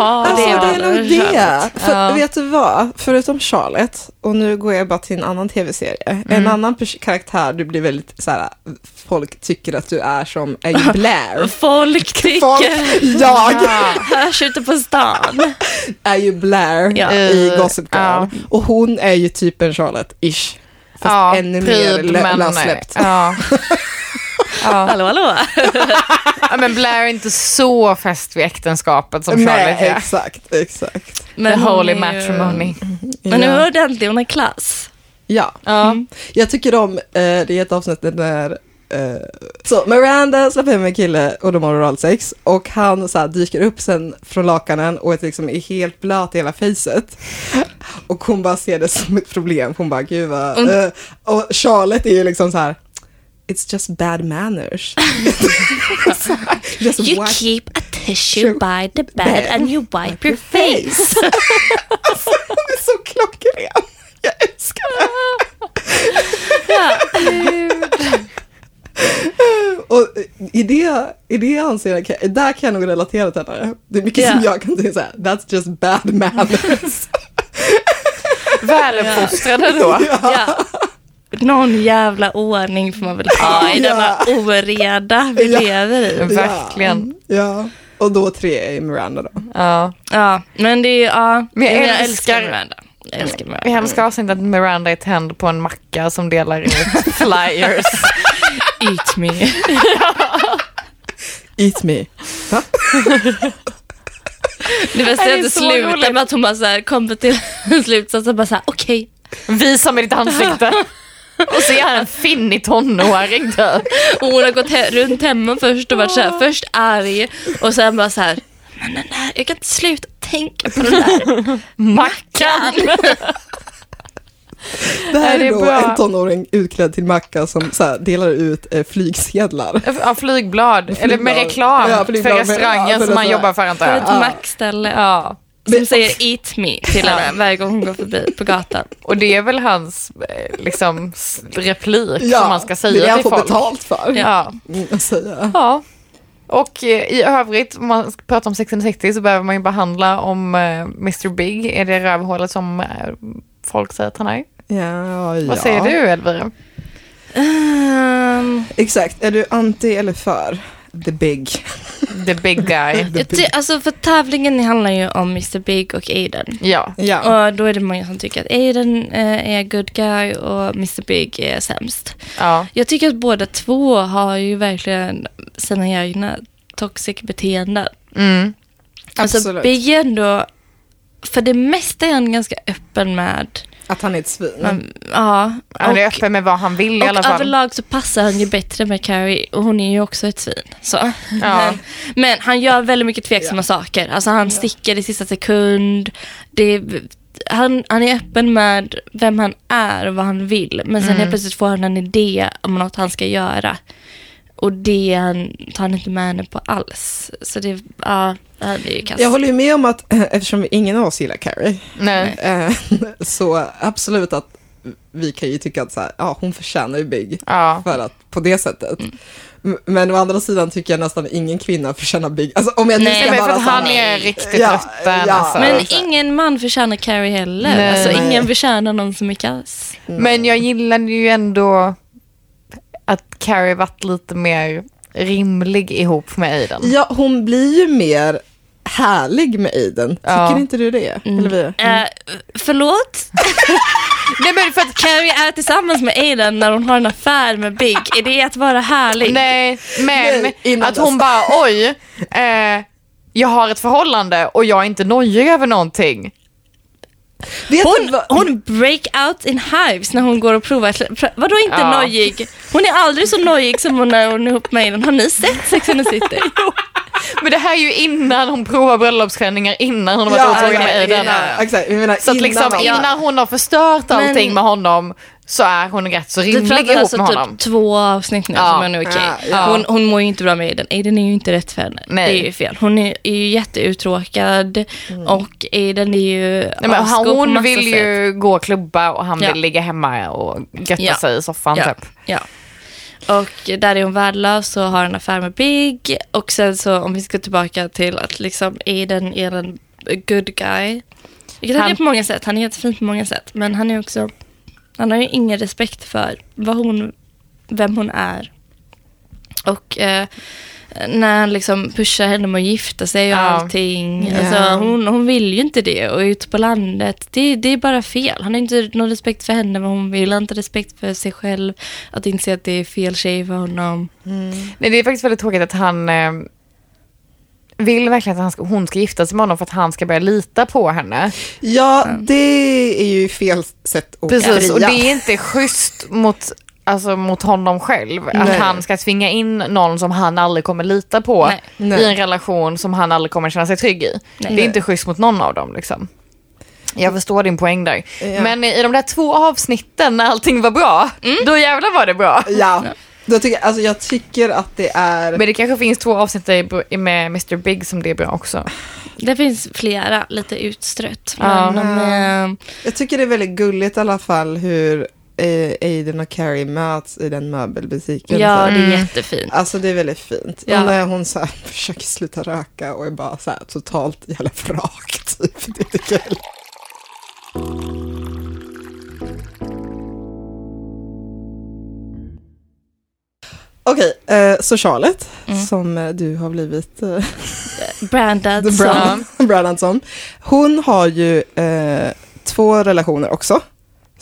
S1: *laughs*
S2: alltså, det
S4: det
S2: är
S4: var
S2: nog
S4: Charlotte.
S2: det. För, Vet du vad? Förutom Charlotte, och nu går jag bara till en annan tv-serie.
S1: Mm.
S2: En annan pers- karaktär du blir väldigt så här, folk tycker att du är som är
S1: *laughs*
S2: ju Blair.
S4: *laughs* Folk tycker,
S2: Folk, jag
S4: hörs ute på stan.
S2: är ju Blair
S4: Ja.
S2: i Gossip Girl.
S1: Uh, Ja.
S2: Och hon är ju typ en Charlotte-ish. Fast ännu mer
S1: pryd,
S2: lö-
S1: men-
S2: lössläppt. *laughs*
S1: Ja.
S4: Hallå, hallå.
S1: ja, men Blair är inte så fäst vid äktenskapet som Charlotte
S2: Nej,
S1: är.
S2: exakt, exakt.
S1: The
S4: hon
S1: holy
S4: är ju-
S1: matrimony.
S4: Men hon
S2: Ja.
S4: är ordentlig, hon har klass. Mm.
S2: Ja.
S1: Ja.
S2: Jag tycker om, eh, det är ett avsnitt där eh, så Miranda släpper hem en kille och de har oralsex och han så här, dyker upp sen från lakanen och är, liksom, är helt blöt i hela facet. Och hon bara ser det som ett problem. Hon bara, gud vad... eh, och Charlotte är ju liksom så här, it's just bad manners. *laughs* Så här, just
S4: You
S2: wipe
S4: keep a tissue by the bed and you wipe your face.
S1: *laughs*
S2: *laughs* Alltså, Hon är så klockren. Jag älskar det. Och eh, i det, i det anseendet, kan- där kan jag nog relatera till henne. Det är mycket
S4: Ja.
S2: som jag kan säga såhär, that's just
S1: *laughs*
S2: bad manners.
S1: Väluppfostrade då.
S4: Ja. Någon jävla ordning får man väl ha i
S2: Ja.
S4: denna oreda vi
S2: Ja.
S4: lever
S1: *laughs*
S4: i.
S1: Verkligen.
S2: ja, och då tre är Miranda då.
S1: Ja.
S4: Ja, men det är ja.
S1: Men jag
S4: jag
S1: älskar-
S4: älskar Miranda. Jag älskar
S1: Jag
S4: Miranda.
S1: älskar avsnittet att Miranda är tänd på en macka som delar *laughs* ut flyers.
S4: Eat me.
S2: Eat me. Va?
S4: Det bästa
S1: Det
S4: är
S1: är
S4: att det
S1: så
S4: slutar
S1: roligt.
S4: med att hon bara så här kommer till slutsatsen bara så här okej.
S1: Visa mig ditt ansikte. Och så är han en finnig tonåring typ. där.
S4: Och hon har gått he- runt hemma först och varit så här först arg och sen bara så här men den där, jag kan inte sluta tänka på den där.
S1: Mackan.
S2: Det
S1: Nej,
S2: här
S1: det
S2: är
S1: är
S2: då
S1: bra.
S2: en tonåring utklädd till macka som så här, delar ut eh, flygsedlar.
S1: Ja, flygblad. Eller med
S2: Flygblad.
S1: reklam
S2: Ja, flygblad
S1: för
S2: med- ja,
S1: restaurangen
S2: för
S1: som man
S2: restaurang.
S1: jobbar för antar
S4: För
S1: jag.
S4: ett mackställe
S1: Ja.
S4: som säger eat me till henne varje gång hon går förbi på gatan.
S1: Och det är väl hans eh, liksom, s- replik som man ska
S2: det är det
S1: säga
S2: han
S1: till
S2: får
S1: folk.
S2: betalt för.
S1: Ja.
S2: Mm, att säga.
S1: ja. Och eh, i övrigt, om man ska prata om 1660 så behöver man ju behandla om eh, Mr Big. Är det rövhålet som eh, folk säger att han är?
S2: Ja, ja.
S1: Vad säger du Elvira?
S4: Ehm,
S2: Exakt, är du anti eller för the big?
S1: The big
S2: *laughs*
S1: guy.
S4: jag ty- alltså för tävlingen handlar ju om Mr Big och Aiden.
S1: Ja.
S2: Ja,
S4: Och då är det många som tycker att Aiden eh, är good guy och Mr Big är sämst.
S1: ja.
S4: Jag tycker att båda två har ju verkligen sina egna toxic beteenden.
S1: Mm.
S4: Alltså
S2: Absolut.
S4: Big är ändå, för det mesta är han ganska öppen med,
S2: att han är ett svin.
S4: men, ja.
S1: Mm. Han är
S4: och-
S1: öppen med vad han vill i alla
S4: Och
S1: fall.
S4: överlag så passar han ju bättre med Carrie och hon är ju också ett svin. Så.
S1: Ja.
S4: Men, men han gör väldigt mycket tveksamma saker. Alltså han sticker i sista sekund. Det är, han, han är öppen med vem han är och vad han vill. Men
S1: Mm.
S4: sen helt plötsligt får han en idé om något han ska göra. Och det han, tar han inte med henne på alls. Så det, ja, han är ju kass.
S2: Jag håller ju med om att, eh, eftersom ingen av oss gillar Carrie,
S1: Nej.
S2: eh, så absolut att vi kan ju tycka att så här, ja, hon förtjänar ju Big
S1: Ja.
S2: för att, på det sättet. M- Men å andra sidan tycker jag nästan ingen kvinna förtjänar Big. Alltså, om jag nu
S4: Nej,
S2: ska
S1: men för
S2: vara
S1: att
S2: sån
S1: han
S2: här-
S1: är riktigt
S2: Ja,
S1: rutten.
S2: ja.
S1: Alltså.
S4: men
S1: Men,
S2: exakt.
S4: ingen man förtjänar Carrie heller.
S1: Nej.
S4: alltså
S1: Nej.
S4: ingen förtjänar någon som är kass.
S2: Mm.
S1: jag gillade ju ändå att Carrie varit lite mer rimlig ihop med Aiden.
S2: Ja, hon blir ju mer härlig med Aiden. Tycker
S1: Ja.
S2: inte du det? Elvira?
S1: Mm.
S4: Eh, förlåt?
S1: Nej men för att
S4: Carrie är tillsammans med Aiden när hon har en affär med Big. Är det att vara härlig?
S1: Nej, men
S2: Nej, innan
S1: att hon
S2: dess.
S1: bara oj, eh, jag har ett förhållande och jag är inte nojig över någonting.
S2: Vet du
S4: Hon,
S2: vad-
S4: hon break out in hives när hon går och provar. klä- pra- Vadå inte
S1: Ja.
S4: nojig? Hon är aldrig så nojig som hon när hon är ihop med Aiden. Har ni sett Sex and the City?
S1: Men det här är ju innan hon provar bröllopsklänningar, innan hon har varit
S2: Ja,
S1: otrogen
S2: okej,
S1: med Aiden.
S2: innan- Exakt, jag menar
S1: Så att liksom
S2: han-
S1: innan hon har förstört allting
S4: Men-
S1: med honom så är hon rätt så
S4: Vi
S1: rimlig
S4: pratar
S1: ihop
S4: alltså
S1: med
S4: typ
S1: honom.
S4: två avsnitt nu
S1: Ja.
S4: som är nu okej.
S2: Ja, ja.
S4: Hon, hon mår ju inte bra med Aiden. Aiden är ju inte rätt för henne.
S1: Nej. Mm.
S4: Det är ju fel. Hon är, är ju jätteuttråkad och Aiden är ju
S1: Nej, men
S4: asgo på
S1: hon
S4: massa
S1: vill
S4: sätt.
S1: ju gå och klubba och han
S4: Ja.
S1: vill ligga hemma och götta
S4: Ja.
S1: sig i soffan
S4: ja.
S1: typ.
S4: ja. Och där är hon värdelös och har en affär med Big. Och sen så om vi ska tillbaka till att liksom Aiden är en good guy. Vilket han,
S1: Han-
S4: är på många sätt. Han är jättefin på många sätt. Men han är också, han har ju ingen respekt för vad hon, vem hon är. Och eh, när han liksom pushar henne med att gifta sig och
S1: Ja.
S4: allting.
S2: Ja.
S4: Alltså, hon, hon vill ju inte det och ute på landet, det, det är bara fel. Han har inte någon respekt för henne, vad hon vill, han har inte respekt för sig själv. Att inse att det är fel tjej för honom.
S1: Nej, det är faktiskt väldigt tråkigt att han eh, vill verkligen att han ska, hon ska gifta sig med honom för att han ska börja lita på henne.
S2: Ja, det är ju fel sätt att
S1: Mm. Precis, och
S2: fria.
S1: det är inte schysst mot, alltså, mot honom själv att
S2: Nej.
S1: han ska tvinga in någon som han aldrig kommer lita på
S4: Nej.
S2: Nej.
S1: i en relation som han aldrig kommer känna sig trygg i. Det är inte schysst mot någon av dem. Liksom. Jag förstår din poäng där.
S2: Ja.
S1: Men i de där två avsnitten när allting var bra, då jävlar var det bra.
S2: Ja, då tycker, alltså, jag tycker att det är...
S1: Men det kanske finns två avsnitt där med Mr Big som det är bra också.
S4: Det finns flera, lite utstrött.
S1: Ja.
S4: Men, men, eh,
S2: Jag tycker det är väldigt gulligt i alla fall hur eh, Aiden och Carrie möts i den möbelbutiken.
S4: ja,
S2: Så-
S4: det är jättefint.
S2: Alltså det är väldigt fint.
S4: Ja.
S2: Och när hon så här, *laughs* försöker sluta röka och är bara så här, totalt jävla vrak *laughs* typ. Det är kul. Okej, eh, så Charlotte,
S4: Mm.
S2: som eh, du har blivit eh, *laughs*
S4: Brandad
S2: The
S4: som
S2: Brand, Brandanson. Hon har ju eh, två relationer också.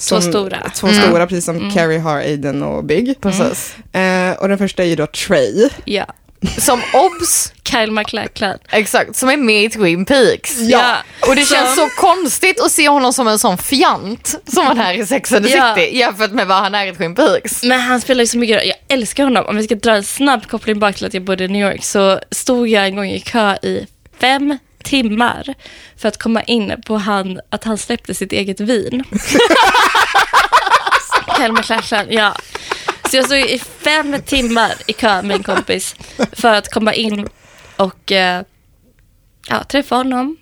S4: Två stora. Mm.
S2: Två stora, precis som Carrie har, Aiden och Big.
S1: Precis.
S2: Eh, och den första är ju då Trey.
S4: ja,
S1: Som obs,
S4: Kyle MacLachlan.
S1: exakt, som är med i Twin Peaks.
S4: Ja.
S1: Och det
S4: Som-
S1: känns så konstigt att se honom som en sån fjant som han är i Sex and the
S4: Ja.
S1: City jämfört med vad han är i Twin Peaks.
S4: Men han spelar ju så mycket Jag älskar honom. Om vi ska dra en snabb koppling bak till att jag bodde i New York så stod jag en gång i kö i fem timmar för att komma in på han, att han släppte sitt eget vin. Helmer Clashland, ja. Så jag stod i fem timmar i kö med en kompis för att komma in och eh, ja, träffa honom,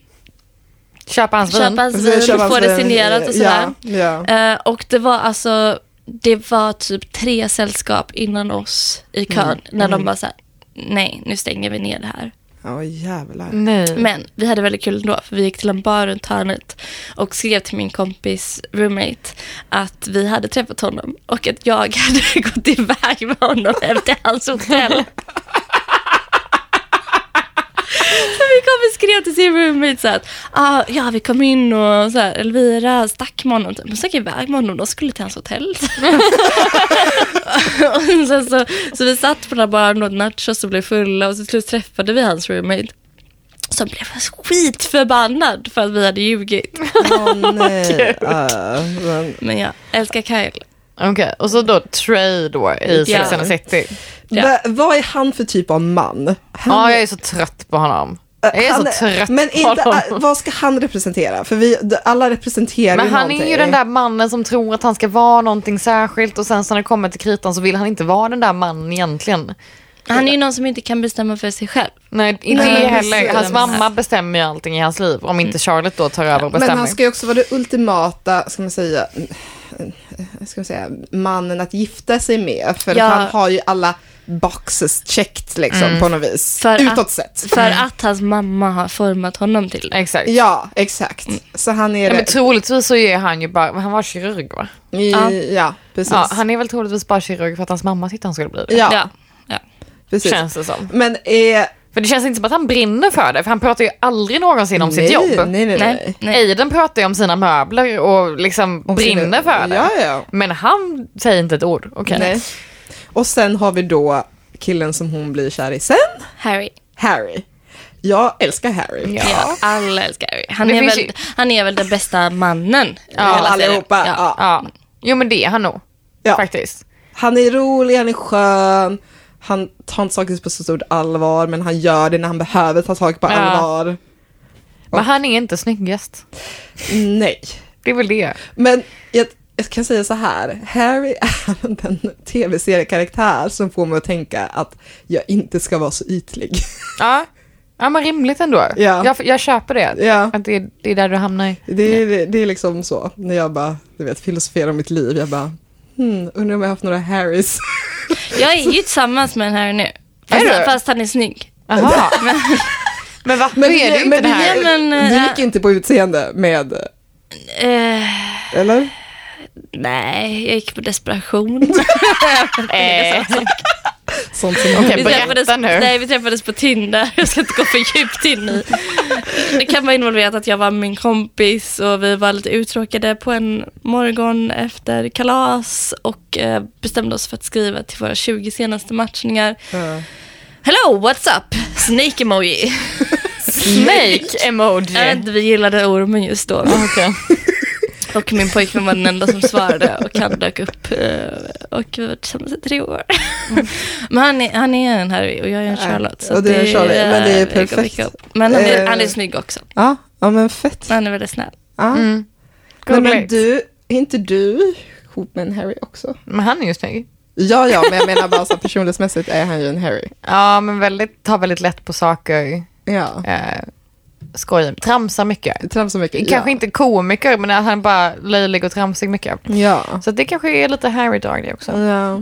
S1: Köpa hans vin.
S4: köpa hans vin,
S2: Köpa hans
S4: få det
S2: vin.
S4: signerat och sådär.
S2: Ja, ja.
S4: Eh, och det var alltså, det var typ tre
S2: Mm.
S4: sällskap innan oss i kön när de bara såhär, nej nu stänger vi ner det här.
S2: Ja, jävlar.
S1: Nej.
S4: Men vi hade väldigt kul ändå, för vi gick till en bar runt hörnet och skrev till min kompis roommate att vi hade träffat honom och att jag *laughs* hade gått iväg med honom hem till hans hotell. Så min kompis skrev till sin roommate så här att ah, ja, vi kom in och så här, Elvira stack med honom. Men stack iväg med honom, de skulle till hans hotell. *laughs* och sen så, så vi satt på den här baren och åt nachos och blev fulla och så till slut träffade vi hans roommate som blev skitförbannad för att vi hade ljugit.
S2: Åh,
S1: *laughs*
S2: nej. eh, Ah, men,
S4: Men jag älskar Kyle.
S1: Okej, och så då Trey då i
S4: Ja.
S1: Sex and the City.
S4: Ja.
S2: Va- Vad är han för typ av man?
S1: Ja,
S2: Han,
S1: jag är så trött på honom. Jag är
S2: han
S1: så trött
S2: men
S1: på
S2: inte,
S1: honom.
S2: ah, Vad ska han representera? För vi, d- alla representerar
S1: Men han är
S2: någonting.
S1: ju den där mannen som tror att han ska vara någonting särskilt och sen så när det kommer till kritan så vill han inte vara den där mannen egentligen.
S4: Han är ju någon som inte kan bestämma för sig själv.
S1: Nej, inte
S4: Nej,
S1: det
S4: men
S1: heller.
S4: precis.
S1: Hans mamma bestämmer ju allting i hans liv om inte Charlotte då tar över och
S2: Men
S1: bestämmer.
S2: han ska ju också vara det ultimata, ska man säga, eh, ska man säga mannen att gifta sig med. För
S4: Ja.
S2: att han har ju alla boxes checked liksom
S1: Mm.
S2: på något vis.
S4: För att-
S2: Utåt sett.
S4: För att hans mamma har format honom till det.
S1: Exakt. Ja,
S2: Ja, exakt. Så han är
S1: Mm. men
S2: det.
S1: troligtvis så är han ju bara, han var kirurg va?
S2: i-
S4: Ja.
S2: Ja, precis.
S1: Ja, han är väl troligtvis bara kirurg för att hans mamma tyckte han skulle bli det.
S2: Ja,
S4: Ja. ja.
S2: precis.
S1: Känns det som.
S2: Men är...
S1: För det känns inte som att han brinner för det, för han pratar ju aldrig någonsin om sitt
S2: nej,
S1: jobb.
S2: Nej, nej, nej.
S4: Nej. Nej.
S1: Aiden pratar ju om sina möbler och liksom
S2: Om sina-
S1: brinner för det.
S2: Ja, ja.
S1: Men han säger inte ett ord. Okej.
S2: nej. Och sen har vi då killen som hon blir kär i sen,
S4: Harry.
S2: Harry. Jag älskar Harry.
S4: Ja. alla älskar Harry. Han
S1: Det
S4: är,
S1: finns
S4: väl,
S1: ju-
S4: han är väl den bästa mannen. i
S2: Ja,
S4: hela serien.
S2: allihopa.
S4: Ja.
S2: Ja.
S1: Ja. Mm. Jo men det är han nog.
S2: Ja.
S1: Faktiskt.
S2: Han är rolig, han är skön, han tar inte saker på så stort allvar, men han gör det när han behöver ta saker på
S1: Ja.
S2: allvar.
S1: Men han är inte snyggast.
S2: Nej.
S1: Det är väl det.
S2: Men jag, jag kan säga så här, Harry är den tv-seriekaraktär som får mig att tänka att jag inte ska vara så ytlig. *laughs*
S1: Ja. Ja men rimligt ändå.
S2: Ja.
S1: Jag, jag köper det.
S2: Ja.
S1: Att det, det är där du hamnar i.
S2: Det är, det, det är liksom så, när jag bara, du vet, filosoferar om mitt liv, jag bara, hmm, undrar om jag har haft några Harrys.
S4: Jag är ju tillsammans med den här nu.
S1: Är du?
S4: Fast, fast han är snygg.
S2: *laughs*
S1: Jaha. men men varför
S2: *laughs* Men
S1: är det
S2: det,
S1: inte
S2: men
S1: det
S2: det,
S1: här?
S4: Nej, men,
S2: det
S4: eh,
S2: gick inte på utseende med,
S4: Eh,
S2: eller?
S4: nej, jag gick på desperation.
S1: Eh,
S2: Sånt som
S1: Okej,
S4: Vi
S1: berätta
S4: träffades,
S1: nu.
S4: Nej, vi träffades på Tinder. Jag ska inte gå för djupt in i. Det kan vara involverat att jag var med min kompis och vi var lite uttråkade på en morgon efter kalas och eh, bestämde oss för att skriva till våra 20 senaste matchningar.
S2: Ja.
S4: Hello, what's up? Snake emoji. *laughs*
S1: Snake emoji.
S4: Jag vet inte, vi gillade ormen just då.
S1: Okej.
S4: Och min pojkvän var den enda som svarade och han dök upp eh, och vi har varit tillsammans i tre år. Mm. Men han är, han är en Harry och jag är en Charlotte. så
S2: och du är en Charlotte, men det är
S4: eh,
S2: perfekt.
S4: pick up, pick up. Men han är,
S2: Eh.
S4: han är snygg också.
S2: Ja, ja men fett.
S4: Han är väldigt snäll.
S2: Ja.
S1: Mm.
S2: Nej, men
S1: Gulligt.
S2: du, är inte du ihop med en Harry också?
S1: Men han är ju snygg.
S2: Ja, ja, men jag menar bara så här, personlighetsmässigt är han ju en Harry.
S1: Ja men väldigt, tar väldigt lätt på saker.
S2: Ja.
S1: Eh, skojar, tramsar mycket.
S2: Tramsar mycket.
S1: Kanske
S2: ja.
S1: inte komiker, men att han är bara löjlig och tramsig mycket.
S2: Ja.
S1: Så det kanske är lite Harry Dog det också.
S2: ja.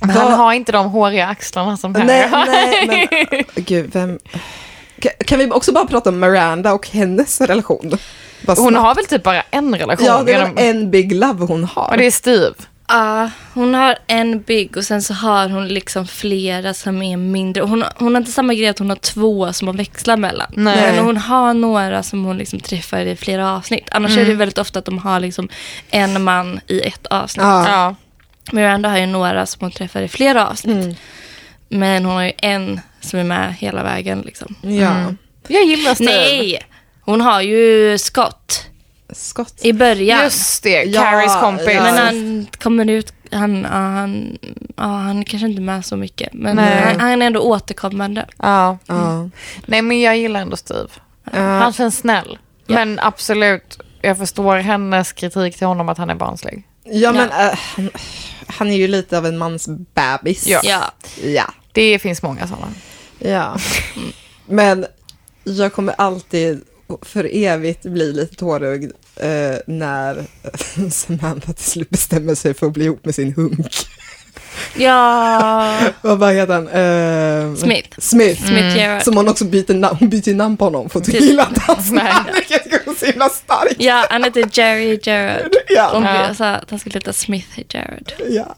S1: Men
S2: Vad-
S1: han har inte de håriga axlarna som Harry
S2: Nej,
S1: har.
S2: nej,
S1: *laughs*
S2: men gud, vem... Kan, kan vi också bara prata om Miranda och hennes relation? Bara
S1: Hon
S2: snabbt.
S1: har väl typ bara en relation.
S2: Ja, det är
S1: genom-
S2: en big love hon har.
S1: Och det är Steve.
S4: Ja, hon har en bygg och sen så har hon liksom flera som är mindre. Hon, hon har inte samma grej att hon har två som hon växlar mellan.
S1: Nej.
S4: Men hon har några som hon liksom träffar i flera avsnitt. Annars är det väldigt ofta att de har liksom en man i ett avsnitt.
S2: Ja.
S1: Ja.
S4: Miranda har ju några som hon träffar i flera avsnitt. Men hon har ju en som är med hela vägen. Liksom.
S2: Ja.
S1: Jag gillar Steve.
S4: Nej! Hon har ju Scott
S2: Scott.
S4: i början.
S1: Just det,
S2: Ja,
S1: Carries kompis.
S2: ja.
S4: Men han kommer ut, han, ja, han, ja, han är kanske inte med så mycket. Men
S1: Nej.
S4: han, han är ändå återkommande.
S1: Ja.
S2: Ja.
S1: Nej, men jag gillar ändå Steve. Han känns snäll. Men absolut, jag förstår hennes kritik till honom att han är barnslig.
S2: Ja, men eh, han, han är ju lite av en mans bebis.
S1: Ja.
S4: Ja.
S2: ja.
S1: Det finns många sådana.
S2: Ja. Men jag kommer alltid för evigt bli lite tårögd *laughs* eh, när Samantha till slut bestämmer sig för att bli ihop med sin hunk. *laughs*
S4: Ja,
S2: Vad vad heter han? Eh,
S4: Smith.
S2: Smith.
S1: Mm.
S4: Smith Gerard.
S2: Som hon också byter, na- *laughs* hon byter ju namn på honom för att hon
S4: Precis.
S2: gillar inte hans
S1: Typ.
S2: *laughs*
S1: Nej.
S2: namn, vilket är så himla starkt.
S4: Ja, han heter Jerry Gerard.
S2: Ja,
S4: Hon
S1: Ja.
S4: sa att han skulle heta Smith Gerard.
S2: ja.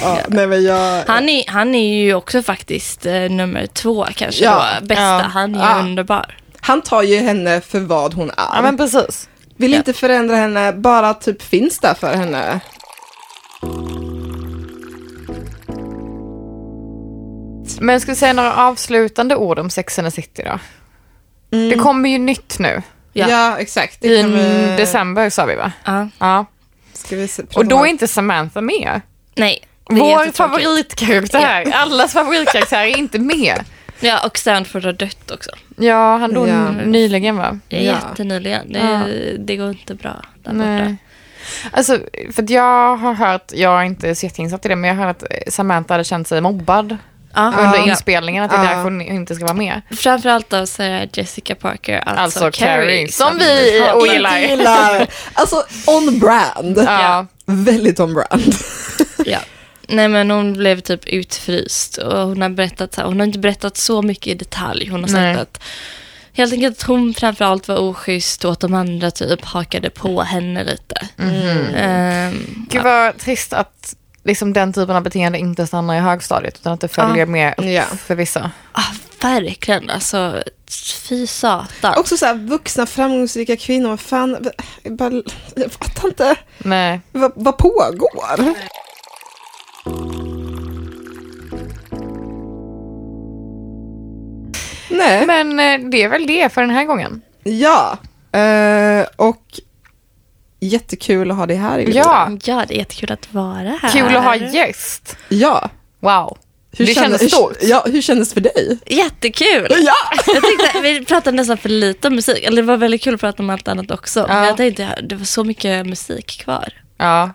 S2: ja. Nej men jag...
S4: Han är, han är ju också faktiskt eh, nummer två kanske
S2: Ja.
S4: då, bästa.
S1: Ja.
S4: Han är ju
S2: Ja.
S4: underbar.
S2: Han tar ju henne för vad hon är.
S1: Ja, men precis.
S2: Vill inte förändra henne, bara typ finns där för henne.
S1: Men ska vi säga några avslutande ord om Sex and the City då? Det kommer ju nytt nu.
S4: Ja.
S2: Ja, exakt. Mm. Det
S1: I
S2: kan vi-
S1: december sa vi va?
S4: Ja.
S1: Ja.
S2: Ska vi se, prata
S1: Och då
S2: om-
S1: är inte Samantha med.
S4: Nej, det är
S1: Vår
S4: jättetråkigt.
S1: favoritkaraktär, allas favoritkaraktär är inte med.
S4: Ja, och Stanford har dött också.
S1: Ja, han dog
S2: Ja.
S1: nyligen va?
S4: Det är
S2: Ja.
S4: jättenyligen. Det, det går inte bra där borta.
S1: Nej. Alltså, för att jag har hört, jag är inte så jätteinsatt i det, men jag har hört att Samantha hade känt sig mobbad
S4: Ja.
S1: under
S4: Ja.
S1: inspelningen, att det är
S2: Ja.
S1: därför hon inte ska vara med.
S4: Framförallt av Sarah Jessica Parker, alltså,
S1: Alltså
S4: Carrie.
S1: Carrie, som vi
S4: hatar.
S1: ogillar.
S2: Inte gillar. Alltså on brand.
S1: Ja.
S2: Väldigt on brand.
S4: Ja. Nej men hon blev typ utfryst och hon har berättat så här, hon har inte berättat så mycket i detalj. Hon har sagt
S1: Nej.
S4: att helt enkelt att hon framförallt var oschysst och att de andra typ hakade på henne lite. Ehm,
S1: Gud vad trist att liksom, den typen av beteende inte stannar i högstadiet utan att det följer med upp
S2: Ja.
S1: för vissa.
S4: ah, verkligen alltså, fy satan.
S2: Också så här, vuxna framgångsrika kvinnor, vad fan, jag bara- jag fattar inte.
S1: Nej.
S2: Vad, vad pågår? Nej,
S1: Men eh, det är väl det för den här gången.
S2: ja. Eh, och jättekul att ha dig här. Elin.
S1: Ja,
S4: Ja, det är jättekul att vara här.
S1: kul att ha gäst.
S2: ja.
S1: Wow. det kändes, stort.
S2: Hur, ja, hur kändes det för dig?
S4: Jättekul!
S2: Ja!
S4: *laughs* Jag tyckte vi pratade nästan för lite om musik, eller det var väldigt kul att prata om allt annat också. Men jag tänkte det var så mycket musik kvar.
S1: Ja.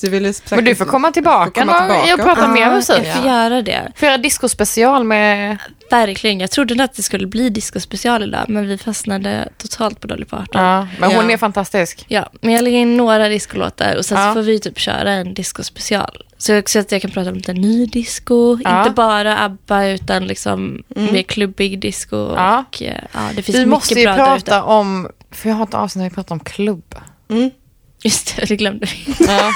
S2: du ville säkert-
S1: Men du får komma tillbaka,
S2: får komma
S1: någon-
S2: tillbaka.
S1: och prata
S2: Ja,
S1: mer musik.
S4: Jag får göra det.
S1: Får göra discospecial med...
S4: Verkligen. Jag trodde att det skulle bli discospecial idag, men vi fastnade totalt på Dolly Parton. Ja.
S1: Ja, men hon
S2: Ja.
S1: är fantastisk.
S4: men jag lägger in några discolåtar och sen
S1: Ja.
S4: så får vi typ köra en discospecial. Så, jag- så att jag kan prata om lite ny disco,
S1: Ja. Mm.
S4: inte bara ABBA utan liksom mer klubbig disco.
S1: Ja.
S4: Och, eh, ja, det finns
S1: Vi
S4: mycket
S1: måste ju
S4: bra där ute.
S1: prata om... För jag har ett avsnitt där vi pratar om klubb.
S4: Just det, det glömde vi.
S1: Ja.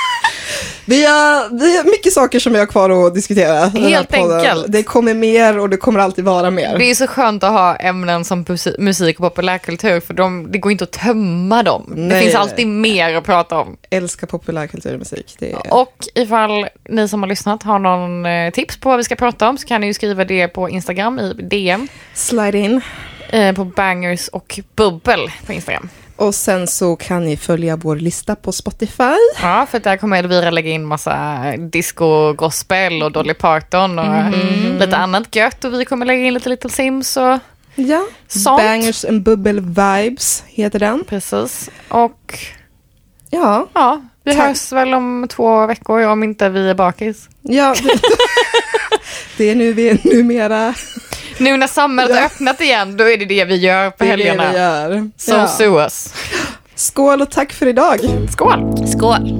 S2: Vi har, vi har mycket saker som vi har kvar att diskutera. i den här
S1: Helt
S2: podden.
S1: enkelt.
S2: Det kommer mer och det kommer alltid vara mer.
S1: Det är så skönt att ha ämnen som pusi- musik och populärkultur för de, det går inte att tömma dem. det
S2: Nej,
S1: finns
S2: nej.
S1: alltid mer att prata om.
S2: älskar populärkultur och musik. Det är...
S1: Och ifall ni som har lyssnat har någon eh, tips på vad vi ska prata om så kan ni ju skriva det på Instagram i DM.
S2: Slide in.
S1: Eh, på bangers och bubbel på Instagram.
S2: Och sen så kan ni följa vår lista på Spotify.
S1: Ja, för att där kommer Elvira lägga in massa disco, gospel och Dolly Parton och
S2: Mhm.
S1: lite annat gött. Och vi kommer lägga in lite Little Sims och
S2: Ja.
S1: sånt.
S2: Bangers and Bubble Vibes heter den.
S1: Precis. Och
S2: Ja,
S1: ja, vi
S2: Tack.
S1: hörs väl om två veckor om inte vi är bakis.
S2: ja. *laughs* det är nu vi är numera.
S1: Nu när samhället har
S2: Ja.
S1: öppnat igen, då är det det vi gör på
S2: Det är det vi
S1: helgerna.
S2: gör.
S1: So
S2: Ja.
S1: sue us.
S2: Skål och tack för idag.
S1: Skål!
S4: Skål!